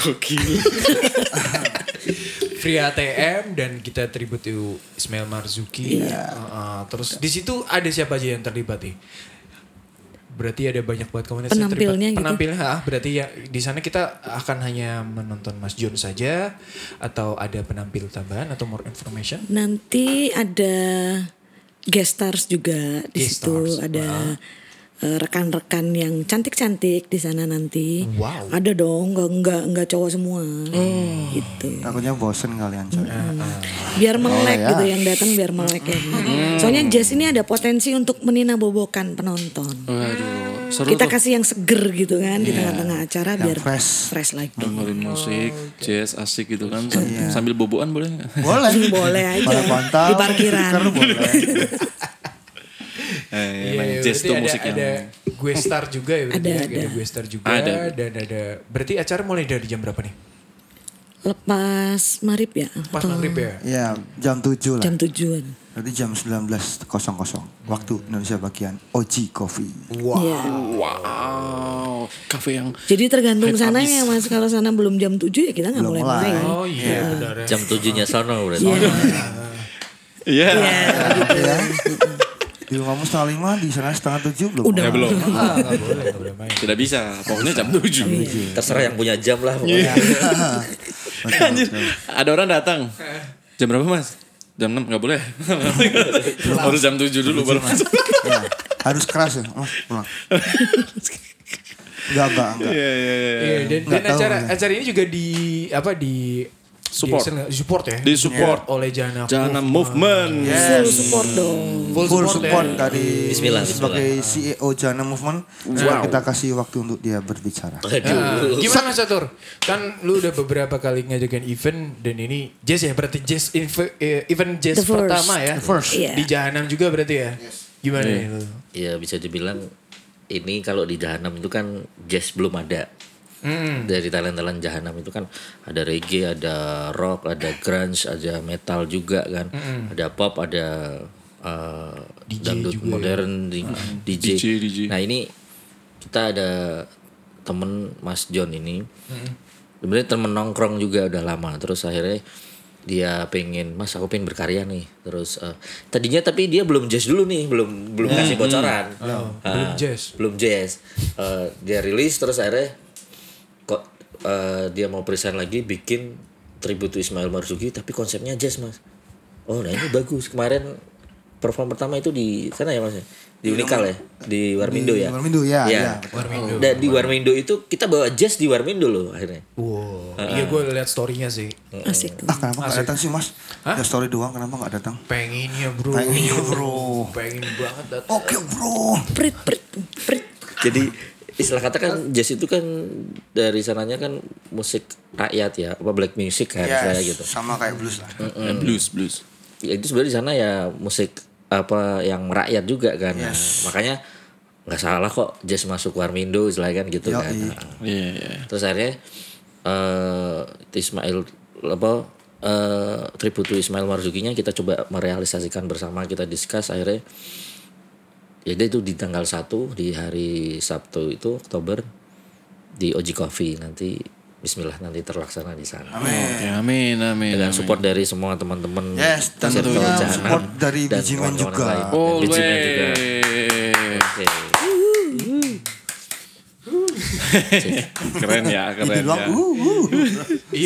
[SPEAKER 1] gokil.
[SPEAKER 2] Free ATM dan kita tribute to Ismail Marzuki.
[SPEAKER 5] Iya.
[SPEAKER 2] Uh, terus di situ ada siapa aja yang terlibat nih? Berarti ada banyak buat komunitas yang terlibat.
[SPEAKER 5] Penampilnya gitu.
[SPEAKER 2] Penampilnya, ah, berarti ya di sana kita akan hanya menonton Mas John saja atau ada penampil tambahan atau more information?
[SPEAKER 5] nanti ada guest stars juga di
[SPEAKER 2] Guest
[SPEAKER 5] situ
[SPEAKER 2] stars,
[SPEAKER 5] ada eh, rekan-rekan yang cantik-cantik di sana nanti
[SPEAKER 2] Wow. Hmm.
[SPEAKER 5] ada dong nggak nggak nggak cowok semua gitu
[SPEAKER 4] Takutnya bosen kalian coy.
[SPEAKER 1] Iya.
[SPEAKER 5] biar
[SPEAKER 4] ya.
[SPEAKER 5] melek
[SPEAKER 4] Hmm.
[SPEAKER 5] gitu yang datang biar melek ya soalnya jazz ini ada potensi untuk menina bobokan penonton
[SPEAKER 1] Waduh, seru tuh.
[SPEAKER 5] kita kasih yang seger gitu kan di tengah-tengah acara biar
[SPEAKER 4] Iya. fresh. Hmm.
[SPEAKER 5] fresh lagi
[SPEAKER 1] dengerin musik,
[SPEAKER 5] Oh,
[SPEAKER 1] jazz asik gitu kan sam- sambil boboan boleh nggak?
[SPEAKER 4] Boleh.
[SPEAKER 5] boleh aja
[SPEAKER 4] Pada bantal.
[SPEAKER 5] di parkiran
[SPEAKER 4] Stiker
[SPEAKER 5] *laughs*
[SPEAKER 4] boleh.
[SPEAKER 1] *laughs* Eh,
[SPEAKER 2] Iya,
[SPEAKER 1] emang
[SPEAKER 2] iya,
[SPEAKER 1] jazz
[SPEAKER 2] berarti
[SPEAKER 1] tuh
[SPEAKER 2] ada,
[SPEAKER 1] musiknya.
[SPEAKER 2] Ada gue star juga ya. berarti
[SPEAKER 5] Ada,
[SPEAKER 2] ya, ada.
[SPEAKER 5] ada.
[SPEAKER 2] gue star juga
[SPEAKER 1] Ada.
[SPEAKER 2] dan ada. Berarti acara mulai dari jam berapa nih?
[SPEAKER 5] lepas marib ya
[SPEAKER 2] Pas
[SPEAKER 5] atau
[SPEAKER 2] maghrib ya.
[SPEAKER 4] Iya jam 7 lah.
[SPEAKER 5] jam tujuan
[SPEAKER 4] Berarti jam 19.00 waktu Indonesia bagian OG Coffee.
[SPEAKER 5] Iya.
[SPEAKER 1] Wow, kafe yang
[SPEAKER 5] Jadi tergantung sananya mas. Kalau sana belum jam 7 ya kita nggak
[SPEAKER 4] Belum
[SPEAKER 5] mulai mulai.
[SPEAKER 4] mulai.
[SPEAKER 2] Oh iya benar ya.
[SPEAKER 3] Jam tujuhnya sono berarti.
[SPEAKER 4] *laughs*
[SPEAKER 5] Iya.
[SPEAKER 1] Iya.
[SPEAKER 5] Iya.
[SPEAKER 4] ya. Di rumahmu setengah lima, di sana setengah tujuh belum.
[SPEAKER 5] Udah.
[SPEAKER 1] Ya belum.
[SPEAKER 2] Ah, nggak boleh, nggak boleh main.
[SPEAKER 1] Tidak bisa. Pokoknya jam 7.
[SPEAKER 3] Terserah yang punya jam lah pokoknya.
[SPEAKER 1] Anjir. Ada orang datang. Jam berapa, Mas? Jam 6 enggak boleh. Harus jam 7 dulu baru masuk.
[SPEAKER 4] Ya, harus keras ya, mas
[SPEAKER 5] *laughs*
[SPEAKER 4] pulang. Enggak, enggak, enggak.
[SPEAKER 1] Iya, iya, iya.
[SPEAKER 2] Iya, dan, dan
[SPEAKER 4] Nggak tahu,
[SPEAKER 2] acara
[SPEAKER 4] ya.
[SPEAKER 2] acara ini juga di apa di
[SPEAKER 1] Support.
[SPEAKER 2] di di support ya.
[SPEAKER 1] Di support.
[SPEAKER 2] oleh Jana.
[SPEAKER 1] Jana
[SPEAKER 2] Move.
[SPEAKER 1] Movement.
[SPEAKER 5] Full support dong.
[SPEAKER 2] Full,
[SPEAKER 4] Full
[SPEAKER 2] support,
[SPEAKER 4] support
[SPEAKER 1] kan.
[SPEAKER 2] ya.
[SPEAKER 4] dari
[SPEAKER 3] Bismillah,
[SPEAKER 4] sebagai CEO Jana Movement. Coba kita kasih waktu untuk dia berbicara.
[SPEAKER 3] Oh,
[SPEAKER 2] Nah,
[SPEAKER 3] Aduh.
[SPEAKER 2] gimana Satur? Kan lu udah beberapa kali ngajakin event dan ini jazz ya berarti jazz inv- eh, event jazz
[SPEAKER 5] The first.
[SPEAKER 2] pertama ya.
[SPEAKER 5] The first. Iya.
[SPEAKER 2] Di Jahanam juga berarti ya. Gimana
[SPEAKER 1] Iya.
[SPEAKER 2] nih lu?
[SPEAKER 3] Ya bisa dibilang ini kalau di Jahanam itu kan jazz belum ada.
[SPEAKER 2] Hmm.
[SPEAKER 3] Dari talent-talent Jahanam itu kan ada reggae, ada rock, ada grunge, ada metal juga kan. Ada pop, ada eh, dangdut modern, di- DJ.
[SPEAKER 1] DJ, DJ.
[SPEAKER 3] Nah ini kita ada temen Mas John ini. Sebenarnya temen nongkrong juga udah lama. Terus akhirnya dia pengen, Mas aku pengen berkarya nih. Terus eh, tadinya tapi dia belum jazz dulu nih, belum belum kasih bocoran. Ah,
[SPEAKER 2] Nah. belum jazz.
[SPEAKER 3] Belum jazz. Eh, dia rilis terus akhirnya kok eh, dia mau present lagi bikin tribute to Ismail Marzuki tapi konsepnya jazz mas. Oh nah ini bagus kemarin perform pertama itu di sana ya mas ya? di Unikal ya di Warmindo ya.
[SPEAKER 4] Warmindo, ya,
[SPEAKER 3] Iya.
[SPEAKER 4] ya,
[SPEAKER 3] Dan di Warmindo itu kita bawa jazz di Warmindo loh akhirnya.
[SPEAKER 2] Wow.
[SPEAKER 1] Uh-uh.
[SPEAKER 2] Iya gue liat storynya sih.
[SPEAKER 5] Asik tuh.
[SPEAKER 4] Ah kenapa nggak datang sih mas? Ya story doang kenapa nggak datang?
[SPEAKER 2] Pengennya bro.
[SPEAKER 4] Pengennya, bro.
[SPEAKER 2] Pengen banget datang.
[SPEAKER 4] Oke bro.
[SPEAKER 5] Prit prit prit.
[SPEAKER 3] Jadi istilah kata kan jazz itu kan dari sananya kan musik rakyat ya apa black music kan
[SPEAKER 4] Ya
[SPEAKER 3] kayak gitu.
[SPEAKER 4] sama kayak blues lah.
[SPEAKER 1] Eh, Blues, blues.
[SPEAKER 3] ya itu sebenarnya di sana ya musik apa yang rakyat juga kan Nah, makanya nggak salah kok jazz masuk Warmindo istilahnya kan gitu kan
[SPEAKER 4] Yoi.
[SPEAKER 3] Nah,
[SPEAKER 1] Iya, iya.
[SPEAKER 3] terus akhirnya eh Ismail apa eh tribute to Ismail Marzuki-nya kita coba merealisasikan bersama kita discuss akhirnya ya dia itu di tanggal 1 di hari Sabtu itu Oktober di Oji Coffee nanti Bismillah nanti terlaksana di sana
[SPEAKER 1] Oke, amin, amin.
[SPEAKER 3] dengan
[SPEAKER 1] amin.
[SPEAKER 3] support dari semua teman-teman
[SPEAKER 4] Yes,
[SPEAKER 3] Circle
[SPEAKER 4] tentunya
[SPEAKER 3] Jahanam
[SPEAKER 4] support dari
[SPEAKER 3] dan
[SPEAKER 4] Bijiman
[SPEAKER 3] kawan-kawan
[SPEAKER 4] juga.
[SPEAKER 3] lain. Dan
[SPEAKER 1] Oleh.
[SPEAKER 3] Bijiman juga. Oke.
[SPEAKER 1] Keren ya, keren
[SPEAKER 4] Dibilang,
[SPEAKER 1] ya.
[SPEAKER 4] "Uh, uh."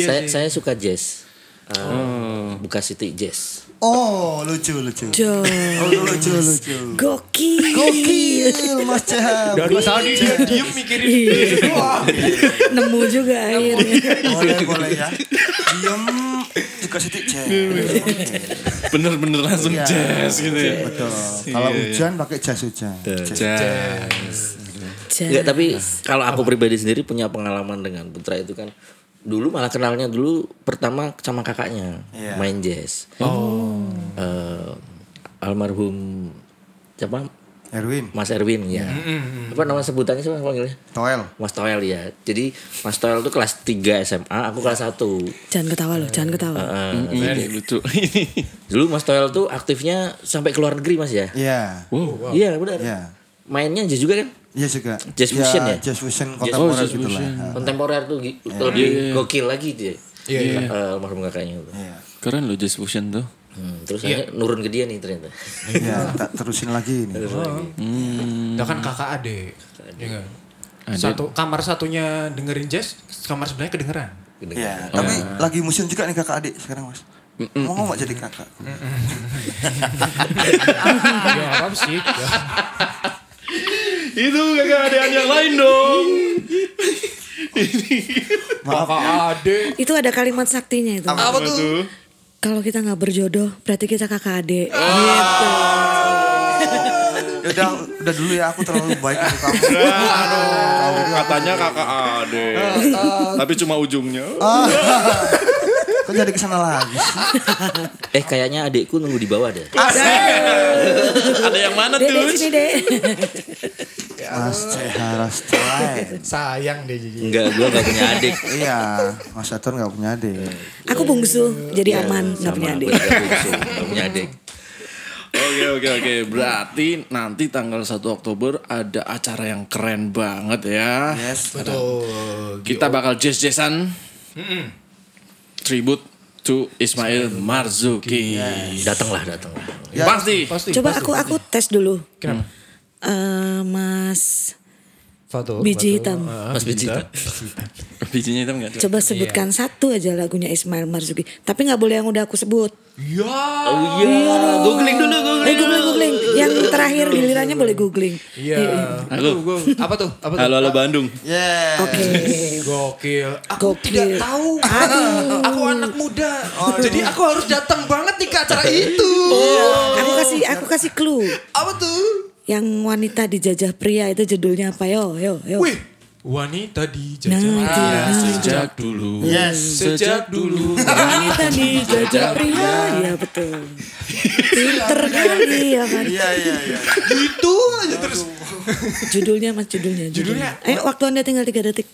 [SPEAKER 3] saya saya suka jazz Eh, buka city jazz
[SPEAKER 4] Oh, lucu lucu.
[SPEAKER 5] Jo,
[SPEAKER 4] Oh, lucu lucu.
[SPEAKER 5] gokil.
[SPEAKER 4] Gokil Mas Caham.
[SPEAKER 2] tadi dia diem mikirin.
[SPEAKER 5] Nemu juga akhirnya.
[SPEAKER 4] Boleh boleh ya. Diem juga sedikit cek.
[SPEAKER 1] Bener-bener langsung
[SPEAKER 4] Iya.
[SPEAKER 1] jazz gitu ya.
[SPEAKER 4] Betul. Kalau hujan pakai jas hujan. Jas.
[SPEAKER 1] Jazz.
[SPEAKER 4] Ya.
[SPEAKER 5] Jo.
[SPEAKER 3] Enggak, tapi
[SPEAKER 4] Iya.
[SPEAKER 3] kalau aku pribadi sendiri punya pengalaman dengan Putra itu kan dulu malah kenalnya dulu pertama sama kakaknya
[SPEAKER 4] Iya.
[SPEAKER 3] main jazz. Oh. almarhum siapa?
[SPEAKER 4] Erwin,
[SPEAKER 3] Mas Erwin ya. Apa nama sebutannya siapa panggilnya?
[SPEAKER 4] Toel.
[SPEAKER 3] Mas Toel ya. Jadi Mas Toel tuh kelas 3 SMA, aku kelas 1.
[SPEAKER 5] Jangan ketawa loh, jangan ketawa.
[SPEAKER 3] Ah.
[SPEAKER 1] Ini lucu.
[SPEAKER 3] Eh,
[SPEAKER 1] *laughs*
[SPEAKER 3] Dulu Mas Toel tuh aktifnya sampai ke luar negeri Mas ya.
[SPEAKER 4] Iya.
[SPEAKER 1] Oh,
[SPEAKER 3] Iya, benar.
[SPEAKER 4] Iya.
[SPEAKER 3] Mainnya jazz juga kan?
[SPEAKER 4] Iya juga.
[SPEAKER 3] Jazz
[SPEAKER 4] Ya,
[SPEAKER 3] fusion ya?
[SPEAKER 4] Jazz fusion kontemporer
[SPEAKER 1] jazz
[SPEAKER 4] gitu lah.
[SPEAKER 1] fusion.
[SPEAKER 4] Ha.
[SPEAKER 3] Kontemporer tuh gi-
[SPEAKER 4] Iya.
[SPEAKER 3] lebih
[SPEAKER 1] iya.
[SPEAKER 3] gokil lagi dia.
[SPEAKER 2] Iya, iya.
[SPEAKER 3] Eh, almarhum kakaknya itu.
[SPEAKER 4] Iya.
[SPEAKER 1] Keren loh jazz fusion tuh.
[SPEAKER 3] Hmm, terus
[SPEAKER 1] Iya.
[SPEAKER 3] akhirnya nurun ke dia nih ternyata.
[SPEAKER 4] Iya, tak terusin lagi ini.
[SPEAKER 1] Oh.
[SPEAKER 2] Dia kan kakak adik. Iya nggak?
[SPEAKER 1] Hmm. Adik.
[SPEAKER 2] Satu kamar satunya dengerin jazz, kamar sebelahnya kedengeran.
[SPEAKER 4] Iya,
[SPEAKER 3] Oh.
[SPEAKER 4] tapi lagi musim juga nih kakak adik sekarang mas. Mau nggak jadi kakak?
[SPEAKER 1] Ah.
[SPEAKER 2] Ya apa sih?
[SPEAKER 1] *laughs* Itu gak ada yang lain dong.
[SPEAKER 4] Maaf.
[SPEAKER 2] Kakak adik.
[SPEAKER 5] Itu ada kalimat saktinya itu.
[SPEAKER 4] Apa tuh?
[SPEAKER 5] Kalau kita nggak berjodoh, berarti kita kakak adik. Gitu.
[SPEAKER 4] Udah, udah dulu ya aku terlalu baik untuk kamu.
[SPEAKER 1] Aduh, katanya kakak *laughs* ade. Tapi cuma ujungnya.
[SPEAKER 4] Kok jadi kesana lagi? sih?
[SPEAKER 3] Eh kayaknya adikku nunggu di bawah deh.
[SPEAKER 1] *laughs* ada yang mana
[SPEAKER 5] Dek, dek, sini
[SPEAKER 1] tuh?
[SPEAKER 5] dek.
[SPEAKER 4] Mas Ceharas Tren.
[SPEAKER 2] Sayang deh jadi.
[SPEAKER 3] Enggak, gua enggak punya
[SPEAKER 1] *laughs*
[SPEAKER 3] adik.
[SPEAKER 4] Iya, Mas Atur nggak punya adik.
[SPEAKER 5] Aku bungsu, jadi aman, nggak punya adik.
[SPEAKER 3] Iya. Enggak punya adik.
[SPEAKER 1] Oke oke oke. Berarti nanti tanggal 1 Oktober ada acara yang keren banget ya.
[SPEAKER 4] Yes.
[SPEAKER 2] Betul.
[SPEAKER 1] Kita bakal jazz-jazzan. Tribute to Ismail Marzuki.
[SPEAKER 3] Datanglah, datanglah.
[SPEAKER 1] Pasti.
[SPEAKER 2] Pasti.
[SPEAKER 5] Coba aku aku tes dulu.
[SPEAKER 2] Kenapa?
[SPEAKER 5] Eh, mas,
[SPEAKER 2] Foto.
[SPEAKER 5] Biji hitam.
[SPEAKER 2] Ah.
[SPEAKER 3] Mas Bijita.
[SPEAKER 1] *laughs* Bijinya hitam nggak?
[SPEAKER 5] coba sebutkan satu aja lagunya Ismail Marzuki. Tapi nggak boleh yang udah aku sebut.
[SPEAKER 2] Ya.
[SPEAKER 3] Oh iya, googling dulu,
[SPEAKER 5] Eh googling googling. Yang terakhir gilirannya boleh googling.
[SPEAKER 2] Iya.
[SPEAKER 1] Halo.
[SPEAKER 2] Aduh, gua- Apa tuh? Apa tuh?
[SPEAKER 1] Halo halo Bandung.
[SPEAKER 4] Ya, Yeah.
[SPEAKER 5] Oke.
[SPEAKER 2] Gokil. Aku
[SPEAKER 5] Gokil.
[SPEAKER 2] tidak tahu. aku anak muda. Jadi aku harus datang banget nih ke acara itu.
[SPEAKER 5] Aku kasih aku kasih clue.
[SPEAKER 2] Apa tuh?
[SPEAKER 5] Yang wanita dijajah pria itu judulnya apa yo yo yo.
[SPEAKER 2] Wih, wanita di
[SPEAKER 5] Nah,
[SPEAKER 2] jajaran.
[SPEAKER 5] itu.
[SPEAKER 1] Sejak dulu.
[SPEAKER 4] Yes.
[SPEAKER 1] Sejak dulu.
[SPEAKER 5] Wanita dijajah pria. Iya betul. Pinter kali ya kan.
[SPEAKER 4] Iya iya iya.
[SPEAKER 2] Gitu aja terus.
[SPEAKER 5] Judulnya mas judulnya.
[SPEAKER 2] Judulnya?
[SPEAKER 5] Eh waktu anda tinggal tiga detik.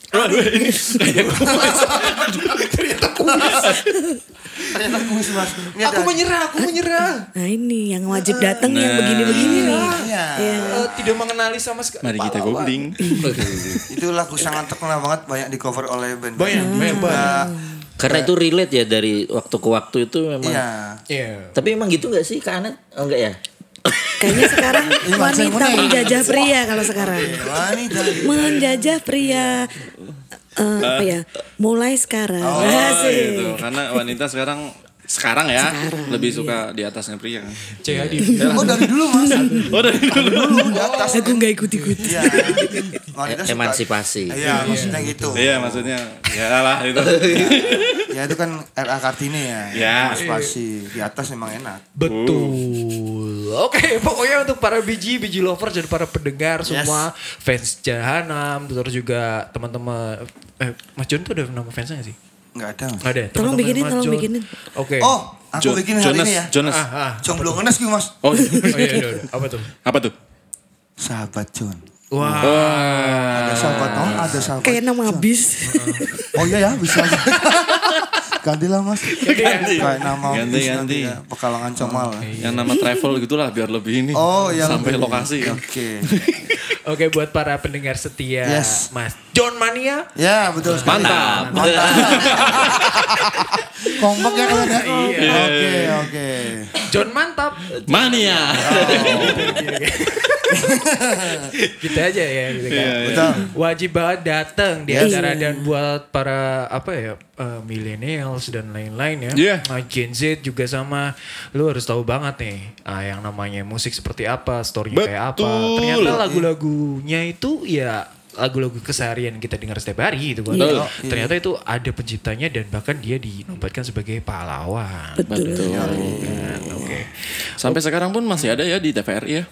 [SPEAKER 4] Ternyata kuis mas. Ini ada.
[SPEAKER 2] Aku menyerah, aku menyerah.
[SPEAKER 5] Nah ini yang wajib datang yang begini-begini nih.
[SPEAKER 4] Iya.
[SPEAKER 2] Eh, tidak mengenali sama sekali.
[SPEAKER 1] Mari kita
[SPEAKER 2] Pahlawan.
[SPEAKER 4] *laughs*
[SPEAKER 1] googling.
[SPEAKER 4] Itu lagu sangat terkenal banget banyak di cover oleh band.
[SPEAKER 2] Banyak, banyak,
[SPEAKER 4] Nah,
[SPEAKER 3] Karena itu relate ya dari waktu ke waktu itu memang.
[SPEAKER 4] Iya.
[SPEAKER 2] Iya.
[SPEAKER 3] Tapi emang gitu enggak sih Kak Anet? Oh, enggak ya?
[SPEAKER 5] Kayaknya sekarang wanita
[SPEAKER 4] Maksudnya-
[SPEAKER 5] menjajah pria kalau sekarang.
[SPEAKER 4] Wanita.
[SPEAKER 5] Menjajah pria. Eh, apa ya? Mulai sekarang.
[SPEAKER 1] Oh,
[SPEAKER 4] Iya
[SPEAKER 5] Asik.
[SPEAKER 1] gitu. Karena wanita sekarang sekarang ya lebih
[SPEAKER 4] iya.
[SPEAKER 1] suka di atasnya pria kan.
[SPEAKER 2] Cek di
[SPEAKER 4] Oh dari dulu mas.
[SPEAKER 2] Iya.
[SPEAKER 1] Oh dari dulu.
[SPEAKER 4] Dulu di atas.
[SPEAKER 5] Aku nggak ikut-ikut.
[SPEAKER 4] Iya. Wanita suka-
[SPEAKER 3] Emansipasi.
[SPEAKER 4] Iya maksudnya gitu.
[SPEAKER 1] *laughs* Iya maksudnya ya lah itu.
[SPEAKER 4] Ya itu kan RA Kartini ya.
[SPEAKER 1] Ya.
[SPEAKER 4] Emansipasi. Di atas memang enak.
[SPEAKER 2] Betul. Oke, pokoknya untuk para biji, biji lovers dan para pendengar semua fans Jahanam, terus juga teman-teman eh Mas John tuh ada nama fansnya gak sih?
[SPEAKER 4] Enggak ada. Mas.
[SPEAKER 2] Gak ada.
[SPEAKER 5] Tolong
[SPEAKER 2] teman-teman
[SPEAKER 5] bikinin,
[SPEAKER 2] Mas
[SPEAKER 5] tolong
[SPEAKER 2] John.
[SPEAKER 5] bikinin.
[SPEAKER 2] Oke.
[SPEAKER 4] Oh, *laughs* aku bikin hari
[SPEAKER 1] Nah, Jonas,
[SPEAKER 4] ini ya.
[SPEAKER 1] Jonas.
[SPEAKER 2] Ah, ah.
[SPEAKER 4] Jomblo ngenes gitu mas.
[SPEAKER 1] Oh, *laughs*
[SPEAKER 2] Oh iya, iya, iya. apa tuh?
[SPEAKER 1] apa tuh?
[SPEAKER 4] Sahabat John.
[SPEAKER 2] Wah,
[SPEAKER 4] oh, Ada sahabat Noah, ada sahabat.
[SPEAKER 5] Kayak nama habis.
[SPEAKER 2] *laughs*
[SPEAKER 4] Oh iya ya bisa. Gantilah mas.
[SPEAKER 1] Ganti.
[SPEAKER 4] Kayak nama
[SPEAKER 1] Ganti,
[SPEAKER 4] bis
[SPEAKER 1] ganti.
[SPEAKER 4] nanti ya, Pekalangan Comal.
[SPEAKER 1] Yang nama travel gitulah biar lebih ini.
[SPEAKER 4] Oh, yang
[SPEAKER 1] sampai lokasi.
[SPEAKER 4] Oke.
[SPEAKER 1] kan.
[SPEAKER 2] Oke buat para pendengar setia
[SPEAKER 4] Yes.
[SPEAKER 2] Mas John Mania.
[SPEAKER 4] Ya betul sekali.
[SPEAKER 1] Mantap.
[SPEAKER 4] Mantap. Kompak ya kalian ya.
[SPEAKER 2] Iya.
[SPEAKER 4] Oke oke.
[SPEAKER 2] John mantap.
[SPEAKER 1] Mania.
[SPEAKER 4] *laughs*
[SPEAKER 2] Gitu aja ya gitu kan.
[SPEAKER 1] Iya,
[SPEAKER 4] Betul.
[SPEAKER 2] Wajib banget datang di
[SPEAKER 4] Yes.
[SPEAKER 2] acara dan buat para apa ya eh, millennials dan lain-lain ya.
[SPEAKER 1] Iya.
[SPEAKER 2] Nah, Gen Z juga sama. Lu harus tahu banget nih ah, yang namanya musik seperti apa, story kayak apa.
[SPEAKER 1] Betul.
[SPEAKER 2] Ternyata lagu-lagunya itu ya lagu-lagu keseharian kita dengar setiap hari gitu kan.
[SPEAKER 1] Betul.
[SPEAKER 2] Ternyata itu ada penciptanya dan bahkan dia dinobatkan sebagai pahlawan.
[SPEAKER 4] Oh,
[SPEAKER 5] Betul.
[SPEAKER 4] iya.
[SPEAKER 2] Kan, Oke.
[SPEAKER 1] Sampai sekarang pun masih ada ya di TVRI ya.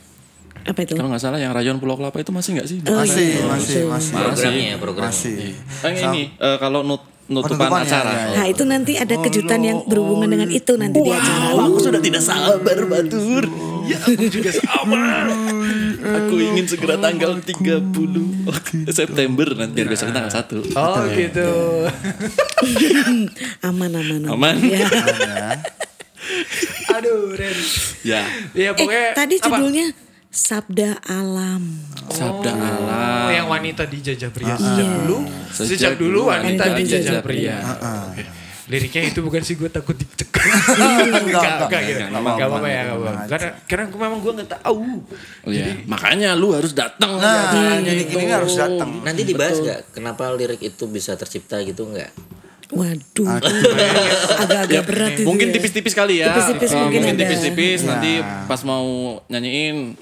[SPEAKER 5] Apa itu?
[SPEAKER 1] Kalau nggak salah yang Rayon Pulau Kelapa itu masih nggak sih?
[SPEAKER 4] Masih masih masih.
[SPEAKER 3] Programnya
[SPEAKER 4] Iya.
[SPEAKER 3] ya, programnya.
[SPEAKER 4] Masih.
[SPEAKER 1] Eh, ini eh, kalau nut nutupan
[SPEAKER 4] Penutupan ya,
[SPEAKER 1] acara.
[SPEAKER 4] ya, ya.
[SPEAKER 5] Nah itu nanti ada kejutan yang berhubungan dengan itu nanti di acara.
[SPEAKER 1] aku sudah tidak sabar, Batur. Ya, aku juga sabar. aku ingin segera tanggal 30 September nanti biar besok tanggal 1.
[SPEAKER 2] Oh gitu.
[SPEAKER 5] Aman aman.
[SPEAKER 1] Aman.
[SPEAKER 5] Ya.
[SPEAKER 2] Aduh, Ren.
[SPEAKER 1] Ya,
[SPEAKER 2] Ya pokoknya
[SPEAKER 5] Eh tadi
[SPEAKER 2] apa?
[SPEAKER 5] judulnya Sabda Alam.
[SPEAKER 1] sabda Allah.
[SPEAKER 2] Oh, yang wanita dijajah pria sejak
[SPEAKER 5] Iya.
[SPEAKER 2] dulu sejak, dulu wanita
[SPEAKER 5] wanita
[SPEAKER 2] dijajah
[SPEAKER 5] dijajah
[SPEAKER 2] pria. Ah, Oke. Liriknya itu bukan sih gue takut *laughs* dicekak.
[SPEAKER 4] enggak,
[SPEAKER 2] enggak,
[SPEAKER 4] enggak,
[SPEAKER 2] gitu.
[SPEAKER 4] enggak,
[SPEAKER 2] Enggak
[SPEAKER 4] enggak,
[SPEAKER 2] apa-apa ya, enggak
[SPEAKER 4] enggak,
[SPEAKER 2] apa-apa.
[SPEAKER 4] enggak.
[SPEAKER 2] Karena karena gue memang gue nggak tahu.
[SPEAKER 1] Oh, iya. Makanya lu harus ya, kan? datang.
[SPEAKER 4] Nah
[SPEAKER 1] iya,
[SPEAKER 4] jadi gini ini harus datang.
[SPEAKER 3] Nanti dibahas nggak kenapa lirik itu bisa tercipta gitu nggak?
[SPEAKER 5] Waduh. Agak-agak berat itu.
[SPEAKER 1] Gitu. mungkin
[SPEAKER 5] ya.
[SPEAKER 1] tipis-tipis kali ya.
[SPEAKER 5] Tipis-tipis
[SPEAKER 1] Eh,
[SPEAKER 5] mungkin ada.
[SPEAKER 1] tipis-tipis nanti pas mau nyanyiin.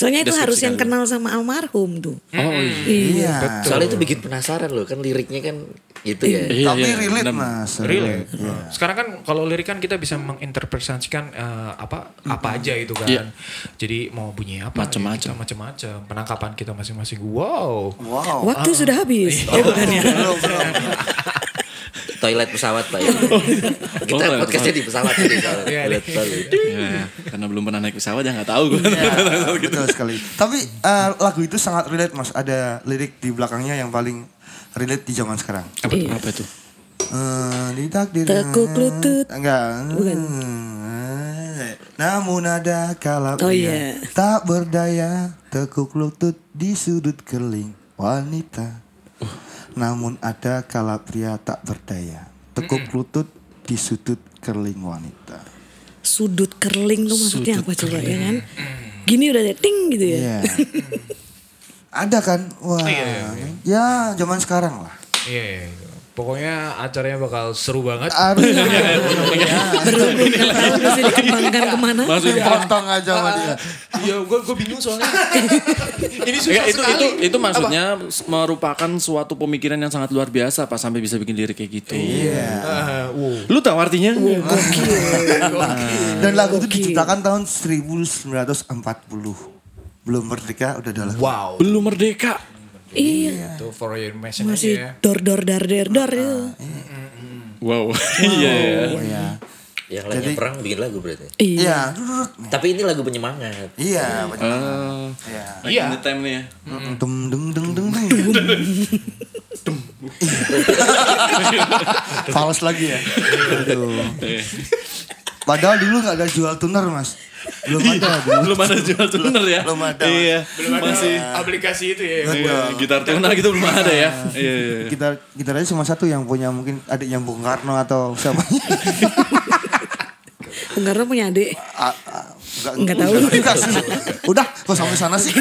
[SPEAKER 5] Soalnya itu harus
[SPEAKER 1] Deskripsi
[SPEAKER 5] yang
[SPEAKER 1] kali.
[SPEAKER 5] kenal sama almarhum tuh.
[SPEAKER 1] Oh iya.
[SPEAKER 5] Iya.
[SPEAKER 3] Soalnya itu bikin penasaran loh kan liriknya kan itu ya.
[SPEAKER 4] Tapi
[SPEAKER 1] iya,
[SPEAKER 4] relate
[SPEAKER 1] bener.
[SPEAKER 4] mas.
[SPEAKER 2] Relate. Sekarang kan kalau lirik kan kita bisa menginterpretasikan eh, apa apa aja itu kan.
[SPEAKER 1] Iya.
[SPEAKER 2] Jadi mau bunyi apa?
[SPEAKER 1] Macem-macem.
[SPEAKER 2] ya, kita Macam-macam. Penangkapan kita masing-masing. Wow.
[SPEAKER 4] Wow.
[SPEAKER 5] Waktu sudah habis. Oh,
[SPEAKER 2] Iya.
[SPEAKER 5] bukan ya.
[SPEAKER 4] Belum, belum.
[SPEAKER 3] Toilet pesawat pak. ya. Kita
[SPEAKER 1] toilet
[SPEAKER 3] podcastnya di pesawat tadi soalnya.
[SPEAKER 2] Iya,
[SPEAKER 3] Toilet
[SPEAKER 2] iya.
[SPEAKER 3] pesawat.
[SPEAKER 1] Ya, karena belum pernah naik pesawat ya nggak tahu gue.
[SPEAKER 4] Ya, betul sekali. Tapi eh, lagu itu sangat relate mas. Ada lirik di belakangnya yang paling relate di zaman sekarang.
[SPEAKER 1] Apa, tuh? apa itu?
[SPEAKER 4] Eh, ditakdir.
[SPEAKER 5] Tekuk lutut.
[SPEAKER 4] Enggak. Hmm.
[SPEAKER 5] Bukan.
[SPEAKER 4] Namun ada kala
[SPEAKER 5] Oh,
[SPEAKER 4] pria
[SPEAKER 5] iya.
[SPEAKER 4] tak berdaya tekuk lutut di sudut keling wanita. Namun ada kala pria tak berdaya tekuk lutut di sudut keling wanita.
[SPEAKER 5] Sudut kerling tuh maksudnya apa coba ya kan? Gini udah ada ting gitu ya.
[SPEAKER 4] Iya. ada kan? Wah. Ya, zaman sekarang lah.
[SPEAKER 2] Iya. iya. Pokoknya acaranya bakal seru banget.
[SPEAKER 4] Aduh,
[SPEAKER 5] Iya.
[SPEAKER 4] iya,
[SPEAKER 5] Belum belum tahu mesti dikembangkan kemana.
[SPEAKER 1] Maksudnya
[SPEAKER 4] potong aja sama dia.
[SPEAKER 2] Ya gue gue bingung soalnya. *laughs* Ini susah
[SPEAKER 1] Enggak, Ya, itu
[SPEAKER 2] sekali.
[SPEAKER 1] itu itu maksudnya s- merupakan suatu pemikiran yang sangat luar biasa pas sampai bisa bikin lirik kayak gitu.
[SPEAKER 2] Ah, wow.
[SPEAKER 1] Lu tahu artinya?
[SPEAKER 4] Dan lagu itu
[SPEAKER 5] Oke.
[SPEAKER 4] diciptakan tahun 1940. Belum merdeka udah ada lagu.
[SPEAKER 2] Wow.
[SPEAKER 1] Belum merdeka.
[SPEAKER 5] Iya.
[SPEAKER 2] Itu for your information aja ya.
[SPEAKER 5] Masih dor dor dar der dor itu.
[SPEAKER 1] Wow. *laughs* Iya. ya.
[SPEAKER 4] Ya.
[SPEAKER 3] Yang lainnya perang bikin lagu berarti.
[SPEAKER 5] Iya.
[SPEAKER 4] Iya, dudut.
[SPEAKER 3] Tapi ini lagu penyemangat.
[SPEAKER 4] Iya, betul.
[SPEAKER 1] Eh,
[SPEAKER 4] Iya.
[SPEAKER 1] back
[SPEAKER 2] Iya.
[SPEAKER 1] in the time nih ya.
[SPEAKER 4] Deng deng deng deng deng. Fals lagi ya. Aduh. Padahal dulu nggak ada jual tuner mas. Belum ada dulu.
[SPEAKER 1] Belum ada jual tuner ya.
[SPEAKER 4] Belum ada.
[SPEAKER 1] Iya.
[SPEAKER 2] Masih aplikasi itu ya.
[SPEAKER 1] Iya, gitar tuner gitu belum ada ya. Iya. iya, iya.
[SPEAKER 4] Kita kita aja cuma satu yang punya mungkin adiknya Bung Karno atau siapa.
[SPEAKER 5] Bung Karno punya adik.
[SPEAKER 4] Ah, ah, nggak-
[SPEAKER 5] Nggak tahu.
[SPEAKER 4] juga sih. Udah, kok sampai sana sih.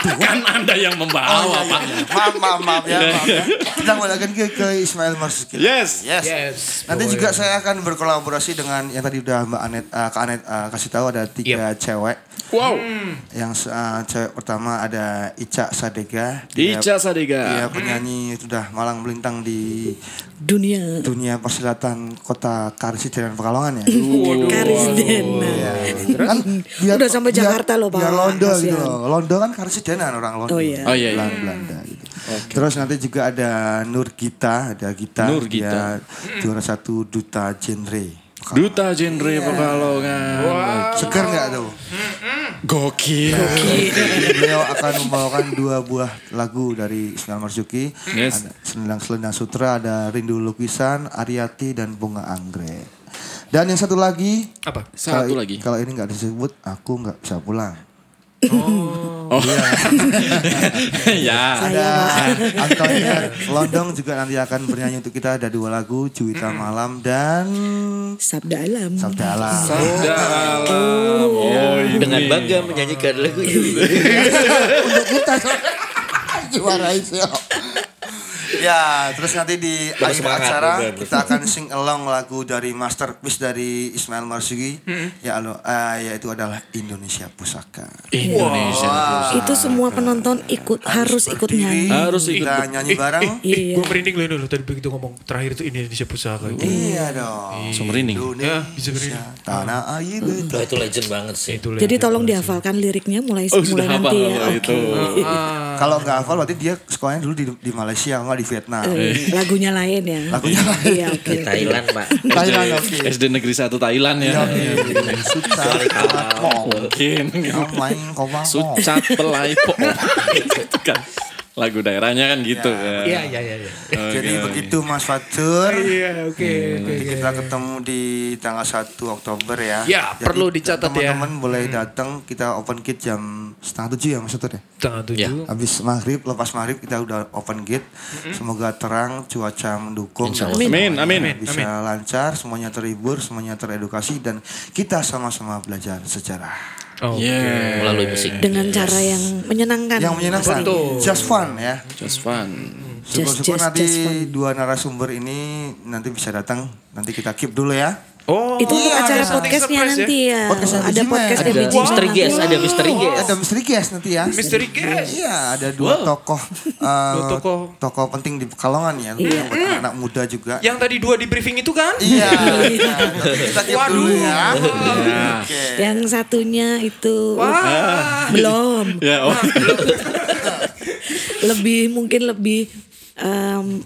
[SPEAKER 1] Kan Anda yang membawa, Pak.
[SPEAKER 4] Ah, Oh, iya, Maaf, maaf, maaf ya. Maaf, *laughs* ya. Kita kembalikan ke, ke Ismail Marzuki.
[SPEAKER 1] iya. Yes.
[SPEAKER 4] Yes.
[SPEAKER 2] Yes.
[SPEAKER 4] Nanti
[SPEAKER 2] boy.
[SPEAKER 4] juga saya akan berkolaborasi dengan yang tadi udah Mbak Anet, eh, Kak Anet eh, kasih tahu ada tiga cewek.
[SPEAKER 1] Wow.
[SPEAKER 4] Hmm. Yang eh, cewek pertama ada Ica Sadega. Dia-
[SPEAKER 1] Ica
[SPEAKER 4] Dia
[SPEAKER 1] Sadega.
[SPEAKER 4] penyanyi sudah malang melintang di
[SPEAKER 5] Dunia.
[SPEAKER 4] dunia persilatan kota Karsi dan Pekalongan ya. *laughs*
[SPEAKER 5] Karisdena.
[SPEAKER 4] Kan dia-
[SPEAKER 5] Udah sampai
[SPEAKER 4] dia-
[SPEAKER 5] Jakarta loh, Pak.
[SPEAKER 4] Dia Londo gitu
[SPEAKER 5] Kasihan.
[SPEAKER 4] loh. Londo kan karsidenan orang Londo.
[SPEAKER 5] Oh, iya.
[SPEAKER 1] Oh, iya, iya.
[SPEAKER 4] Belan- Belanda gitu. Terus nanti juga ada Nur Gita, ada Gita.
[SPEAKER 1] Nur
[SPEAKER 4] Dia juara satu duta genre. Oh. Iya.
[SPEAKER 1] Duta genre Pekalongan.
[SPEAKER 5] *laughs*
[SPEAKER 4] Seger nggak tuh?
[SPEAKER 2] Gokil.
[SPEAKER 4] Beliau akan membawakan dua buah lagu dari Ismail Marzuki.
[SPEAKER 1] Yes.
[SPEAKER 4] Ada Selendang Selendang Sutra, ada Rindu Lukisan, Ariati, dan Bunga Anggrek. Dan yang satu lagi.
[SPEAKER 2] Apa?
[SPEAKER 1] Satu
[SPEAKER 4] kalau-
[SPEAKER 1] lagi.
[SPEAKER 4] Kalau ini nggak disebut, aku nggak bisa pulang.
[SPEAKER 1] Oh.
[SPEAKER 4] iya.
[SPEAKER 1] ya.
[SPEAKER 4] Ada *laughs* Antonia Londong juga nanti akan bernyanyi untuk kita. Ada dua lagu, Juwita Malam dan
[SPEAKER 5] Sabda alam.
[SPEAKER 4] Sabda Alam. *laughs*
[SPEAKER 1] Oh. *laughs* Ya.
[SPEAKER 4] Iya.
[SPEAKER 3] Dengan bangga menyanyikan lagu ini.
[SPEAKER 4] untuk kita juara itu ya terus nanti di
[SPEAKER 3] Terus
[SPEAKER 4] akhir
[SPEAKER 3] semangat,
[SPEAKER 4] acara
[SPEAKER 3] udah, terus
[SPEAKER 4] kita akan sing along lagu dari masterpiece dari Ismail Marzuki ya lo eh, yaitu adalah Indonesia Pusaka
[SPEAKER 1] Indonesia.
[SPEAKER 5] Ah. Itu semua penonton ikut harus, ikut
[SPEAKER 4] berdiri,
[SPEAKER 5] nyanyi.
[SPEAKER 1] Harus ikut
[SPEAKER 4] kita nyanyi bareng
[SPEAKER 2] eh,
[SPEAKER 5] Iya.
[SPEAKER 2] Gue merinding dulu dulu tadi begitu ngomong terakhir itu Indonesia Pusaka.
[SPEAKER 4] iya dong
[SPEAKER 1] Sumerining.
[SPEAKER 2] Ya, bisa merinding.
[SPEAKER 4] tanah air beta
[SPEAKER 3] Wah, itu legend banget sih.
[SPEAKER 2] Itu lah.
[SPEAKER 5] Jadi tolong dihafalkan liriknya mulai
[SPEAKER 1] Oh,
[SPEAKER 5] mulai
[SPEAKER 1] sudah hafal
[SPEAKER 5] nanti ya.
[SPEAKER 1] hafal
[SPEAKER 5] Oke.
[SPEAKER 1] itu.
[SPEAKER 4] kalau nggak hafal berarti dia sekolahnya dulu di, di Malaysia nggak di Vietnam
[SPEAKER 5] Eh, Lagunya lain ya.
[SPEAKER 4] Lagunya lain.
[SPEAKER 5] Iya, oke.
[SPEAKER 3] Di Thailand, Pak.
[SPEAKER 4] Thailand
[SPEAKER 1] SD,
[SPEAKER 4] oke Iya,
[SPEAKER 1] SD Negeri 1 Thailand ya.
[SPEAKER 4] Sutra Kawang
[SPEAKER 1] Mungkin.
[SPEAKER 4] Iya. Main Kawang
[SPEAKER 1] Sucat pelai *laughs* po. Itu kan lagu daerahnya kan gitu kan.
[SPEAKER 2] Iya, iya, iya. iya.
[SPEAKER 4] Jadi begitu Mas Fatur
[SPEAKER 2] Iya, oke, oke.
[SPEAKER 4] Nanti kita ketemu di tanggal 1 Oktober ya.
[SPEAKER 2] Ya, perlu dicatat ya.
[SPEAKER 4] Teman-teman boleh datang kita open gate jam setengah tujuh ya Mas Fatur ya.
[SPEAKER 2] Tanggal tujuh.
[SPEAKER 4] Habis maghrib, lepas maghrib kita udah open gate. Semoga terang, cuaca mendukung.
[SPEAKER 1] Amin, amin.
[SPEAKER 4] Bisa lancar, semuanya terhibur, semuanya teredukasi dan kita sama-sama belajar sejarah.
[SPEAKER 2] Oh.
[SPEAKER 1] Yeah.
[SPEAKER 3] Melalui musik.
[SPEAKER 5] Dengan cara yang menyenangkan.
[SPEAKER 4] Yang menyenangkan, just fun ya.
[SPEAKER 1] Just fun.
[SPEAKER 5] Just-
[SPEAKER 4] Syukur-syukur
[SPEAKER 5] just-
[SPEAKER 4] nanti
[SPEAKER 5] just fun.
[SPEAKER 4] dua narasumber ini nanti bisa datang. Nanti kita keep dulu ya.
[SPEAKER 2] Oh.
[SPEAKER 5] Itu untuk
[SPEAKER 2] ada
[SPEAKER 5] acara
[SPEAKER 2] something
[SPEAKER 5] podcastnya
[SPEAKER 2] surprise ya?
[SPEAKER 5] nanti ya.
[SPEAKER 4] Podcast yang
[SPEAKER 5] ada
[SPEAKER 4] bijimen.
[SPEAKER 5] podcast yang
[SPEAKER 4] Ada
[SPEAKER 5] bijimen
[SPEAKER 3] Misteri
[SPEAKER 5] nanti.
[SPEAKER 3] Guest, ada Misteri Guest.
[SPEAKER 4] Ada misteri guest nanti ya.
[SPEAKER 2] Misteri guest.
[SPEAKER 4] Iya, ada dua tokoh eh,
[SPEAKER 2] Dua tokoh.
[SPEAKER 4] tokoh penting di Pekalongan ya, yang buat anak muda juga.
[SPEAKER 2] Yang tadi dua di briefing itu kan?
[SPEAKER 4] Iya. iya. Tapi kita keep
[SPEAKER 2] Waduh.
[SPEAKER 4] dulu ya.
[SPEAKER 5] Yang satunya itu
[SPEAKER 2] Wah.
[SPEAKER 5] belum.
[SPEAKER 1] Ya, oh.
[SPEAKER 5] lebih mungkin lebih em,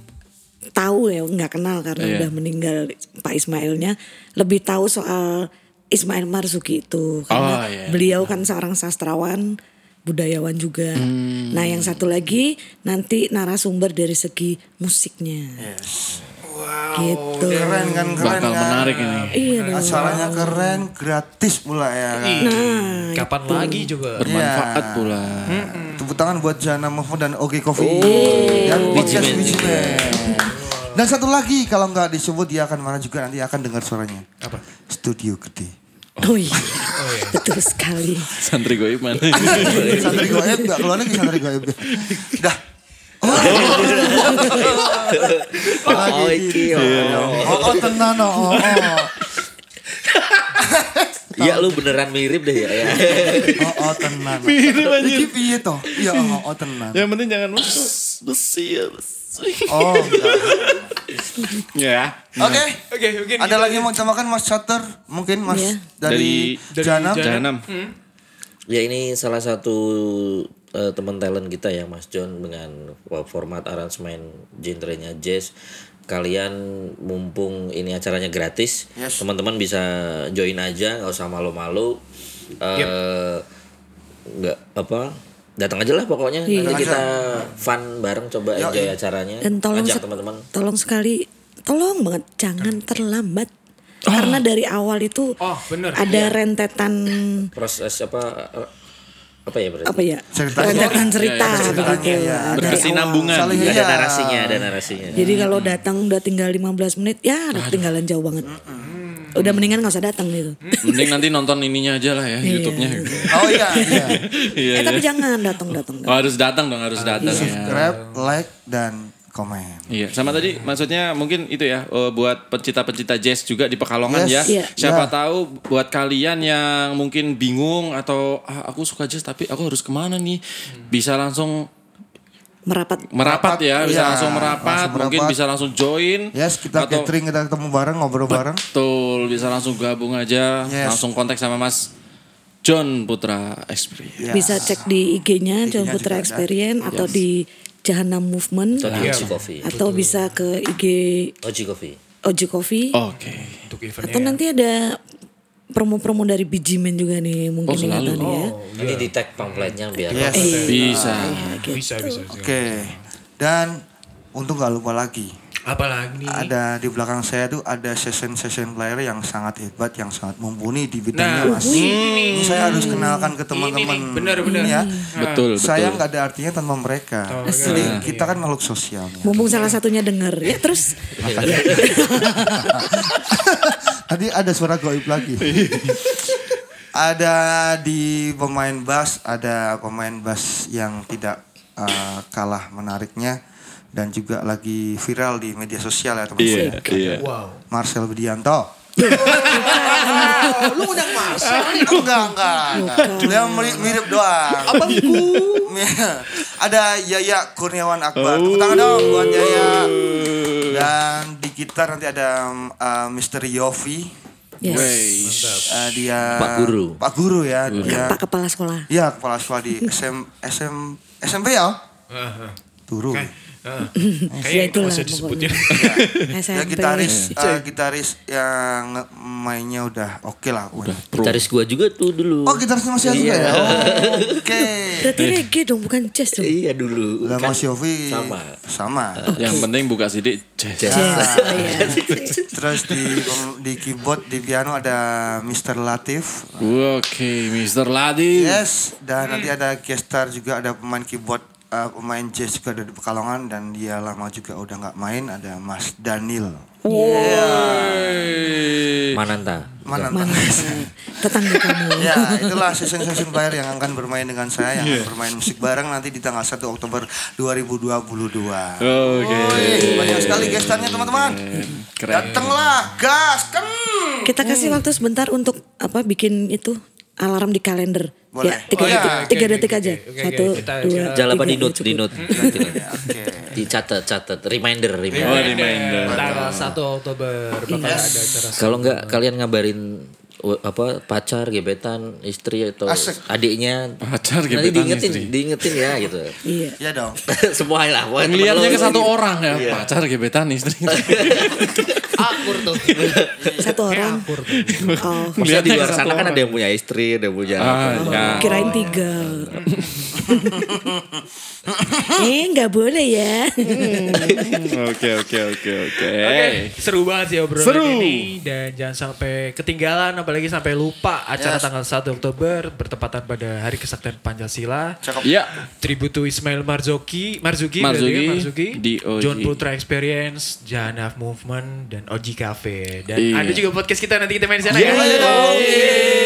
[SPEAKER 5] tahu ya nggak kenal karena
[SPEAKER 1] Iya.
[SPEAKER 5] udah meninggal Pak Ismailnya lebih tahu soal Ismail Marzuki
[SPEAKER 1] Oh,
[SPEAKER 5] itu karena
[SPEAKER 1] iya.
[SPEAKER 5] beliau kan seorang sastrawan budayawan juga.
[SPEAKER 1] Hmm.
[SPEAKER 5] Nah yang satu lagi nanti narasumber dari segi musiknya gitu.
[SPEAKER 4] Keren kan, keren
[SPEAKER 1] *laughs* Bakal
[SPEAKER 4] kan.
[SPEAKER 1] menarik ini.
[SPEAKER 5] Iya dong.
[SPEAKER 4] Acaranya keren, gratis pula ya
[SPEAKER 5] Iya.
[SPEAKER 4] kan.
[SPEAKER 5] Nah,
[SPEAKER 2] Kapan
[SPEAKER 5] gitu.
[SPEAKER 2] lagi juga?
[SPEAKER 1] Bermanfaat pula.
[SPEAKER 4] Tepuk tangan buat Jana Mahfud dan Oke
[SPEAKER 3] Oh.
[SPEAKER 4] Coffee dan podcast
[SPEAKER 3] Bijimen.
[SPEAKER 4] Bijimen. Dan satu lagi kalau nggak disebut dia akan marah juga nanti akan dengar suaranya.
[SPEAKER 2] Apa?
[SPEAKER 4] Studio gede.
[SPEAKER 5] Oh iya. Betul sekali.
[SPEAKER 1] Santri *laughs* goiban.
[SPEAKER 4] Santri goib nggak keluar lagi santri goib. Dah. Oh.
[SPEAKER 3] Oh, iki. oh.
[SPEAKER 4] Oh, oh tenan oh. oh, oh.
[SPEAKER 3] Ya lu beneran mirip deh ya. ya.
[SPEAKER 4] Oh, oh tenan.
[SPEAKER 1] Mirip aja.
[SPEAKER 4] Iki piye toh? Ya oh, oh tenan.
[SPEAKER 1] Yang penting jangan masuk. Besi ya, besi.
[SPEAKER 4] Oh. enggak.
[SPEAKER 1] Ya.
[SPEAKER 3] Nah.
[SPEAKER 4] Oke.
[SPEAKER 2] Oke, mungkin
[SPEAKER 4] Ada lagi yang mau tambahkan Mas Chatter? Mungkin Mas
[SPEAKER 5] Iya.
[SPEAKER 4] dari,
[SPEAKER 2] Dari
[SPEAKER 4] Janam.
[SPEAKER 2] Janam.
[SPEAKER 1] Jahanam.
[SPEAKER 3] Ya ini salah satu eh, teman talent kita ya Mas John dengan wah, format aransemen genrenya jazz. Kalian mumpung ini acaranya gratis,
[SPEAKER 4] Yes.
[SPEAKER 3] teman-teman bisa join aja, nggak usah malu-malu. Eh, nggak apa datang aja lah pokoknya nanti kita fun bareng coba enjoy acaranya
[SPEAKER 5] Iya. Dan tolong
[SPEAKER 3] ajak
[SPEAKER 5] sek-
[SPEAKER 3] teman-teman Hmm.
[SPEAKER 5] Tolong sekali, tolong banget jangan terlambat.
[SPEAKER 4] Oh.
[SPEAKER 5] Karena dari awal itu
[SPEAKER 2] Oh, bener.
[SPEAKER 5] ada
[SPEAKER 3] Iya.
[SPEAKER 5] rentetan
[SPEAKER 3] proses apa eh, apa ya berarti
[SPEAKER 5] apa ya?
[SPEAKER 4] Cerita. Iya,
[SPEAKER 5] rentetan cerita begitu. Dari awal.
[SPEAKER 1] Berkesinambungan. Ya.
[SPEAKER 4] Saling
[SPEAKER 3] ada
[SPEAKER 4] iya.
[SPEAKER 3] narasinya ada narasinya
[SPEAKER 5] Jadi kalau
[SPEAKER 4] Hmm.
[SPEAKER 5] datang udah tinggal 15 menit, ya udah ketinggalan jauh banget.
[SPEAKER 4] hmm.
[SPEAKER 5] Udah mendingan nggak usah datang gitu.
[SPEAKER 1] Mending nanti nonton ininya aja lah ya, YouTube-nya.
[SPEAKER 4] Oh *laughs* iya, iya.
[SPEAKER 1] Iya.
[SPEAKER 5] *laughs* eh tapi
[SPEAKER 1] iya.
[SPEAKER 5] jangan datang datang.
[SPEAKER 1] Oh, harus datang dong, harus datang ya.
[SPEAKER 4] Subscribe, like dan komen.
[SPEAKER 1] Iya, sama tadi maksudnya mungkin itu ya eh, buat pencipta-pencipta jazz juga di Pekalongan
[SPEAKER 4] Yes.
[SPEAKER 1] ya.
[SPEAKER 5] Iya.
[SPEAKER 1] Siapa
[SPEAKER 4] Ya.
[SPEAKER 1] tahu buat kalian yang mungkin bingung atau "Ah, aku suka jazz tapi aku harus kemana nih?
[SPEAKER 4] Hmm.
[SPEAKER 1] Bisa langsung
[SPEAKER 5] Merapat.
[SPEAKER 1] merapat ya, bisa
[SPEAKER 4] Iya,
[SPEAKER 1] langsung merapat,
[SPEAKER 4] langsung
[SPEAKER 1] mungkin
[SPEAKER 4] merapat.
[SPEAKER 1] bisa langsung join.
[SPEAKER 4] Yes, kita
[SPEAKER 1] atau
[SPEAKER 4] catering, kita ketemu bareng, ngobrol bareng.
[SPEAKER 1] betul bisa langsung gabung aja,
[SPEAKER 4] Yes.
[SPEAKER 1] langsung kontak sama Mas John Putra Experience.
[SPEAKER 4] Yes.
[SPEAKER 5] Bisa cek di IG-nya John
[SPEAKER 4] Ya. juga
[SPEAKER 5] Putra
[SPEAKER 4] ada.
[SPEAKER 5] Experience atau di Jahanam Movement
[SPEAKER 3] atau di
[SPEAKER 4] Iya.
[SPEAKER 3] Oji Coffee
[SPEAKER 5] atau bisa ke IG
[SPEAKER 3] Oji Coffee
[SPEAKER 5] Oji Coffee
[SPEAKER 1] Oke.
[SPEAKER 2] Untuk
[SPEAKER 5] atau
[SPEAKER 2] eventnya.
[SPEAKER 5] nanti ada promo-promo dari Bijimen juga nih mungkin
[SPEAKER 1] Oh,
[SPEAKER 5] nih
[SPEAKER 1] selalu.
[SPEAKER 5] atau nih ya.
[SPEAKER 1] Iya.
[SPEAKER 3] Ini di tag pamfletnya biar
[SPEAKER 4] Yes.
[SPEAKER 5] Iya,
[SPEAKER 1] Bisa.
[SPEAKER 5] gitu.
[SPEAKER 2] bisa bisa. bisa.
[SPEAKER 4] Oke. Dan untuk nggak lupa lagi,
[SPEAKER 2] Apalagi nih?
[SPEAKER 5] Iya.
[SPEAKER 4] ada di belakang saya tuh ada session-session player yang sangat hebat, yang sangat mumpuni di bidangnya
[SPEAKER 2] Nah,
[SPEAKER 4] mas. Ini saya harus kenalkan ke teman-teman.
[SPEAKER 2] nih, benar-benar.
[SPEAKER 4] ini ya.
[SPEAKER 1] Betul, betul.
[SPEAKER 4] Saya nggak ada artinya tanpa mereka. Jadi kita kan makhluk sosial. ya.
[SPEAKER 5] Mumpung salah satunya denger ya terus
[SPEAKER 4] Tadi ada suara goib lagi. ada di pemain bass, ada pemain bass yang tidak eh, kalah menariknya dan juga lagi viral di media sosial ya
[SPEAKER 1] Iya,
[SPEAKER 4] teman-teman.
[SPEAKER 1] iya.
[SPEAKER 2] Wow.
[SPEAKER 4] Marcel Widianto.
[SPEAKER 2] *laughs* Lu udah masuk.
[SPEAKER 4] enggak, enggak, enggak. Dia mirip, mirip doang. Abangku. *laughs* Ada Yaya Kurniawan Akbar. Tepuk tangan dong buat Yaya. Dan di gitar nanti ada eh, Mr. Yofi.
[SPEAKER 5] yes.
[SPEAKER 1] Wey.
[SPEAKER 4] Eh, dia
[SPEAKER 3] Pak Guru. Hmm.
[SPEAKER 4] Pak Guru ya. Dia
[SPEAKER 5] Pak kepala sekolah.
[SPEAKER 4] ya kepala sekolah di SM, SM, SMP ya. Turu.
[SPEAKER 5] Ya,
[SPEAKER 2] Kayaknya nggak
[SPEAKER 5] itulah
[SPEAKER 2] usah disebutin.
[SPEAKER 5] pokoknya. SMP.
[SPEAKER 4] Ya gitaris
[SPEAKER 3] Hmm.
[SPEAKER 4] eh, gitaris yang mainnya udah oke lah. Udah.
[SPEAKER 3] Gitaris gua juga tuh dulu.
[SPEAKER 4] Oh gitarisnya masih ada juga
[SPEAKER 3] Iya.
[SPEAKER 4] ya. Oh, Oke.
[SPEAKER 5] Berarti reggae dong bukan jazz
[SPEAKER 4] gitu.
[SPEAKER 5] dong.
[SPEAKER 3] Iya dulu.
[SPEAKER 4] Lah
[SPEAKER 3] Kan
[SPEAKER 4] Mas Yofi
[SPEAKER 3] sama. Ah.
[SPEAKER 4] Sama. Ya.
[SPEAKER 1] Yang penting buka sidik jazz.
[SPEAKER 3] Jazz.
[SPEAKER 5] Jazz. oh iya.
[SPEAKER 4] Terus di di keyboard di piano ada Mr. Latif.
[SPEAKER 1] Oke, Mr. Ladi.
[SPEAKER 4] Yes, dan nanti ada gestar juga ada pemain keyboard eh, pemain jazz juga dari Pekalongan dan dia lama juga udah nggak main ada Mas Daniel.
[SPEAKER 3] Mananta.
[SPEAKER 4] Mana?
[SPEAKER 5] Mana tetangga kamu.
[SPEAKER 4] *laughs* Ya, itulah season-season player yang akan bermain dengan saya yang akan bermain musik bareng nanti di tanggal 1 Oktober 2022.
[SPEAKER 1] Oke.
[SPEAKER 4] Banyak sekali gestarnya teman-teman.
[SPEAKER 1] Keren.
[SPEAKER 4] Datanglah, gas, kan.
[SPEAKER 5] Kita kasih waktu sebentar untuk apa bikin itu alarm di kalender.
[SPEAKER 4] Boleh.
[SPEAKER 5] Ya, tiga
[SPEAKER 4] Oh, ya,
[SPEAKER 5] detik,
[SPEAKER 4] oke,
[SPEAKER 5] tiga
[SPEAKER 2] oke,
[SPEAKER 5] detik
[SPEAKER 2] oke,
[SPEAKER 5] aja.
[SPEAKER 2] oke,
[SPEAKER 5] Satu,
[SPEAKER 2] oke. Kita-
[SPEAKER 5] dua,
[SPEAKER 2] kita-
[SPEAKER 3] Jangan lupa
[SPEAKER 5] tiga.
[SPEAKER 3] di note, di note. Nanti lah.
[SPEAKER 4] Iya, Oke.
[SPEAKER 3] Dicatat, catat. Reminder,
[SPEAKER 1] Oh,
[SPEAKER 3] reminder.
[SPEAKER 1] reminder.
[SPEAKER 2] Tanggal 1 Oktober bakal
[SPEAKER 1] Iya.
[SPEAKER 2] ada
[SPEAKER 4] iya.
[SPEAKER 2] acara.
[SPEAKER 3] Kalau nggak kalian ngabarin w- apa pacar, gebetan, istri atau
[SPEAKER 4] Asik.
[SPEAKER 3] adiknya
[SPEAKER 1] Pacar,
[SPEAKER 3] nanti
[SPEAKER 1] gebetan,
[SPEAKER 3] diingetin,
[SPEAKER 1] istri.
[SPEAKER 3] diingetin ya gitu. *laughs*
[SPEAKER 5] Iya.
[SPEAKER 4] Ya dong.
[SPEAKER 3] Semua lah. pokoknya temen
[SPEAKER 1] Ngeliatnya
[SPEAKER 3] lo
[SPEAKER 1] ke satu
[SPEAKER 3] gitu.
[SPEAKER 1] orang ya, pacar gebetan istri.
[SPEAKER 3] Akur tuh.
[SPEAKER 5] Satu orang. Oh,
[SPEAKER 3] Maksudnya di
[SPEAKER 1] Ngeliatnya ke
[SPEAKER 3] luar
[SPEAKER 1] satu
[SPEAKER 3] sana kan
[SPEAKER 1] orang.
[SPEAKER 3] ada yang punya istri, ada yang punya apa.
[SPEAKER 1] Ah, ya.
[SPEAKER 5] kirain tiga. *laughs* eh, nggak boleh ya.
[SPEAKER 2] Hmm.
[SPEAKER 1] Oke, oke, oke, oke.
[SPEAKER 2] Oke, seru banget sih obrolan
[SPEAKER 1] Seru.
[SPEAKER 2] ini dan jangan sampai ketinggalan apalagi sampai lupa acara tanggal 1 Oktober bertepatan pada Hari Kesaktian Pancasila.
[SPEAKER 1] Ya.
[SPEAKER 2] Tribute to Ismail Marzuki,
[SPEAKER 1] Marzuki,
[SPEAKER 2] Marzuki, berarti kan, Marzuki,
[SPEAKER 1] di OG.
[SPEAKER 2] John Putra Experience, Janaf Movement, dan OG Cafe. Dan
[SPEAKER 1] Iya.
[SPEAKER 2] ada juga podcast kita nanti kita main di sana ya.
[SPEAKER 1] Yeay.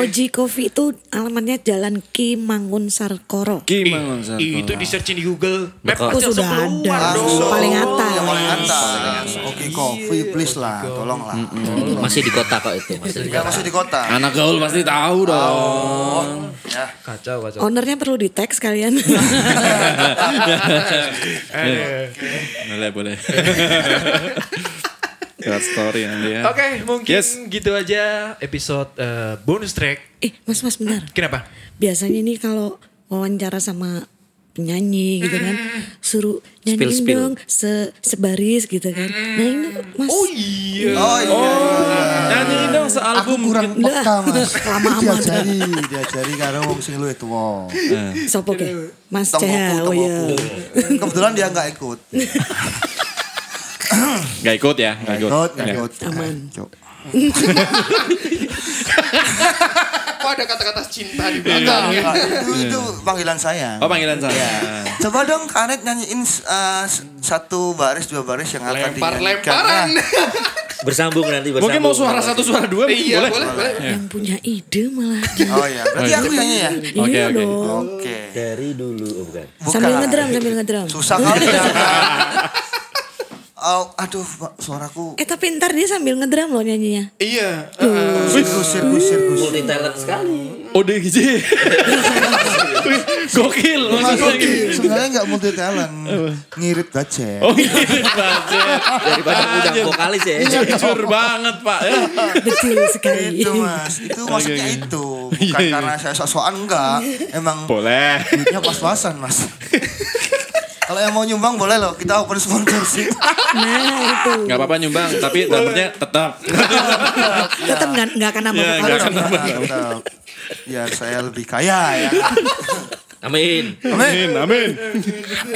[SPEAKER 5] Oji Coffee itu alamatnya Jalan Ki Mangun Sarkoro.
[SPEAKER 1] Ki
[SPEAKER 2] Ih,
[SPEAKER 1] Mangun Sarko.
[SPEAKER 2] ih, itu di searching di Google. Map
[SPEAKER 3] Bakal-
[SPEAKER 5] Oh, sudah ada.
[SPEAKER 4] Langsung.
[SPEAKER 5] Paling atas.
[SPEAKER 4] Yang paling atas. Oke, coffee please lah, tolonglah.
[SPEAKER 3] Masih di kota kok itu, masih di
[SPEAKER 4] Ya masih di kota.
[SPEAKER 1] Anak gaul pasti tahu dong.
[SPEAKER 4] Ya.
[SPEAKER 2] Kacau, kacau.
[SPEAKER 5] Ownernya perlu di tag
[SPEAKER 2] *laughs*
[SPEAKER 5] sekalian.
[SPEAKER 2] Aduh.
[SPEAKER 1] Boleh, boleh. Got story nanti ya.
[SPEAKER 2] Oke, mungkin
[SPEAKER 1] Yes.
[SPEAKER 2] gitu aja episode eh, bonus track.
[SPEAKER 5] eh, Mas Mas benar.
[SPEAKER 2] Kenapa?
[SPEAKER 5] Biasanya nih kalau wawancara sama penyanyi gitu kan,
[SPEAKER 2] Hmm.
[SPEAKER 5] suruh
[SPEAKER 3] Spill,
[SPEAKER 5] nyanyiin
[SPEAKER 3] spill.
[SPEAKER 5] dong se sebaris gitu kan. Nah ini Mas
[SPEAKER 2] Oh iya.
[SPEAKER 4] Oh iya.
[SPEAKER 1] Nanti dong
[SPEAKER 4] Aku
[SPEAKER 1] sealbum.
[SPEAKER 4] kurang peka mas.
[SPEAKER 5] *laughs* Lama amat.
[SPEAKER 4] Diajari, diajari karena wong sing luwih tuwa.
[SPEAKER 5] Sopo ke? ya?
[SPEAKER 2] Gitu.
[SPEAKER 5] Mas
[SPEAKER 4] Tonggoku,
[SPEAKER 5] Cah, oh
[SPEAKER 4] tonggoku.
[SPEAKER 5] iya.
[SPEAKER 4] Kebetulan dia nggak ikut.
[SPEAKER 1] Gak ikut ya, gak ikut.
[SPEAKER 4] Ikut, nggak
[SPEAKER 1] Nggak.
[SPEAKER 4] ikut.
[SPEAKER 5] Aman.
[SPEAKER 4] Cuk.
[SPEAKER 2] Kok ada kata-kata cinta di
[SPEAKER 4] Nggak, Itu, itu panggilan saya. Iya.
[SPEAKER 1] Oh panggilan saya.
[SPEAKER 4] Coba dong Karet nyanyiin eh, s- satu baris dua baris yang akan dinyanyikan.
[SPEAKER 2] Lempar-lemparan.
[SPEAKER 4] Nah,
[SPEAKER 3] Bersambung nanti bersambung.
[SPEAKER 1] Mungkin mau suara satu suara dua
[SPEAKER 2] Iya,
[SPEAKER 1] boleh.
[SPEAKER 2] boleh, boleh.
[SPEAKER 1] Ya.
[SPEAKER 5] Yang punya ide malah. dia.
[SPEAKER 4] Oh iya, berarti aku nyanyi ya.
[SPEAKER 1] *laughs* Oke,
[SPEAKER 5] iya
[SPEAKER 1] oke.
[SPEAKER 5] dong.
[SPEAKER 4] Oke.
[SPEAKER 3] Dari dulu, oh bukan.
[SPEAKER 4] Bukan.
[SPEAKER 5] Sambil ngedram, sambil ngedram.
[SPEAKER 4] Susah kali ya. Oh, aduh, Pak, suaraku
[SPEAKER 5] Eh tapi ntar dia sambil ngedram loh nyanyinya.
[SPEAKER 2] Iya.
[SPEAKER 4] gusir gusir gusir.
[SPEAKER 3] Multi talent sekali.
[SPEAKER 1] ODGJ. Gokil. maksudnya gitu.
[SPEAKER 4] Sebenarnya nggak multi talent, ngirit budget.
[SPEAKER 1] Oh iya, budget.
[SPEAKER 3] Daripada udang vokalis ya.
[SPEAKER 1] Jujur banget pak. Ya.
[SPEAKER 5] Betul sekali.
[SPEAKER 4] Itu mas, itu maksudnya
[SPEAKER 1] oke.
[SPEAKER 4] itu
[SPEAKER 1] Iya,
[SPEAKER 4] bukan
[SPEAKER 1] iya.
[SPEAKER 4] karena saya sok-sokan enggak, emang
[SPEAKER 1] Boleh.
[SPEAKER 4] duitnya pas-pasan mas. Kalau yang mau nyumbang boleh loh, kita open
[SPEAKER 1] *laughs*
[SPEAKER 4] sponsorship.
[SPEAKER 5] Nah itu
[SPEAKER 1] Gak apa-apa nyumbang, tapi dapurnya tetap.
[SPEAKER 5] tetap nggak nggak akan nambah
[SPEAKER 1] Iya,
[SPEAKER 5] vokal
[SPEAKER 1] nggak
[SPEAKER 5] dong.
[SPEAKER 1] akan nambah.
[SPEAKER 4] Mantap. Biar saya lebih kaya ya.
[SPEAKER 3] Amin.
[SPEAKER 1] Amin, amin,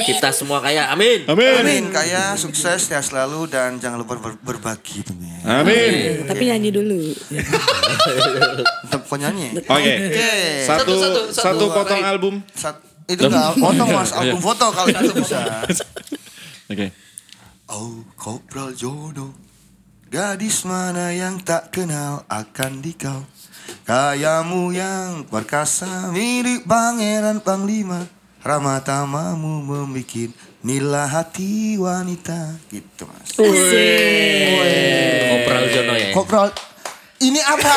[SPEAKER 3] Kita semua kaya. Amin.
[SPEAKER 1] amin,
[SPEAKER 4] Amin, kaya, sukses, sehat selalu dan jangan lupa ber- berbagi tentunya. ya.
[SPEAKER 1] amin.
[SPEAKER 5] gitu. Tapi nyanyi dulu.
[SPEAKER 4] Tetap kau nyanyi.
[SPEAKER 1] Oke, satu,
[SPEAKER 3] Satu, satu,
[SPEAKER 1] satu,
[SPEAKER 3] satu.
[SPEAKER 1] potong
[SPEAKER 3] Baik.
[SPEAKER 1] album.
[SPEAKER 4] Sat- itu enggak foto Mas,
[SPEAKER 1] Iya.
[SPEAKER 4] album foto kalau itu bisa.
[SPEAKER 1] Oke.
[SPEAKER 4] Oh, Kopral Jono. Gadis mana yang tak kenal akan dikau. Kayamu yang perkasa milik pangeran panglima. Ramatamamu membuat nila hati wanita. Gitu mas. Eh.
[SPEAKER 3] Kopral Jono ya.
[SPEAKER 4] Kopral, ini apa?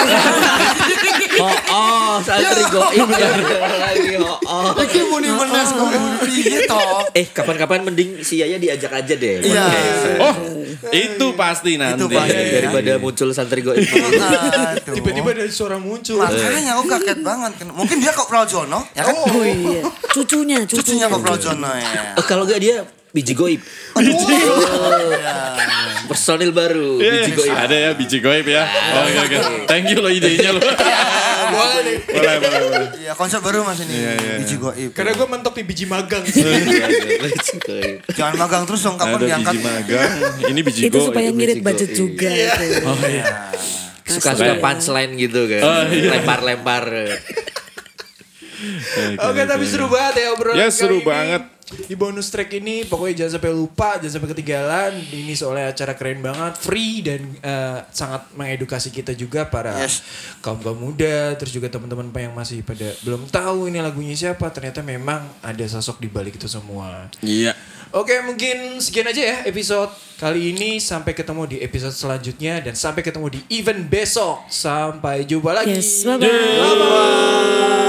[SPEAKER 3] Oh, oh, santri goib ya. Lagi, oh, oh.
[SPEAKER 4] *laughs* Ini muni menes kok. Ini toh.
[SPEAKER 3] Eh, kapan-kapan mending si Yaya diajak aja deh.
[SPEAKER 4] Iya.
[SPEAKER 1] Oh, itu pasti nanti.
[SPEAKER 4] Itu
[SPEAKER 3] Iya.
[SPEAKER 4] pasti.
[SPEAKER 3] Daripada muncul santri goib.
[SPEAKER 4] Aduh.
[SPEAKER 2] Tiba-tiba ada suara muncul.
[SPEAKER 4] Makanya aku kaget banget. Mungkin dia Kopral Jono, ya kan?
[SPEAKER 5] Oh iya. Cucunya,
[SPEAKER 4] Cucunya
[SPEAKER 5] cucunya.
[SPEAKER 4] Kopral Jono ya.
[SPEAKER 3] Eh, Kalau nggak dia biji goib. Oh, iya. Personil baru biji goib.
[SPEAKER 1] Ada ya biji goib ya. Oke oke. Thank you lo idenya lo.
[SPEAKER 2] Boleh deh.
[SPEAKER 1] boleh boleh boleh.
[SPEAKER 4] Iya, konsep baru Mas ini.
[SPEAKER 1] iya.
[SPEAKER 4] Biji goib.
[SPEAKER 2] Karena gue mentok di biji magang.
[SPEAKER 3] Biji goib.
[SPEAKER 4] Jangan magang terus dong kapan
[SPEAKER 1] Ada
[SPEAKER 4] diangkat.
[SPEAKER 1] biji magang. Ini biji
[SPEAKER 5] Itu
[SPEAKER 1] goib.
[SPEAKER 5] supaya ngirit
[SPEAKER 3] Jigo,
[SPEAKER 5] budget
[SPEAKER 3] iya.
[SPEAKER 5] juga. itu.
[SPEAKER 3] Suka-suka punchline gitu kan.
[SPEAKER 1] Oh, iya.
[SPEAKER 3] Lempar-lempar.
[SPEAKER 2] Oke tapi seru banget ya obrolan
[SPEAKER 1] Iya, Ya,
[SPEAKER 2] kali
[SPEAKER 1] seru
[SPEAKER 2] ini.
[SPEAKER 1] banget.
[SPEAKER 2] Di bonus track ini pokoknya jangan sampai lupa, jangan sampai ketinggalan. Ini soalnya acara keren banget, free dan eh, sangat mengedukasi kita juga para
[SPEAKER 4] Yes.
[SPEAKER 2] kaum kaum muda, terus juga teman-teman yang masih pada belum tahu ini lagunya siapa. Ternyata memang ada sosok di balik itu semua.
[SPEAKER 1] Iya.
[SPEAKER 2] Oke, mungkin sekian aja ya episode kali ini. Sampai ketemu di episode selanjutnya dan sampai ketemu di event besok. Sampai jumpa lagi.
[SPEAKER 5] Yes, bye-bye.
[SPEAKER 2] Bye-bye.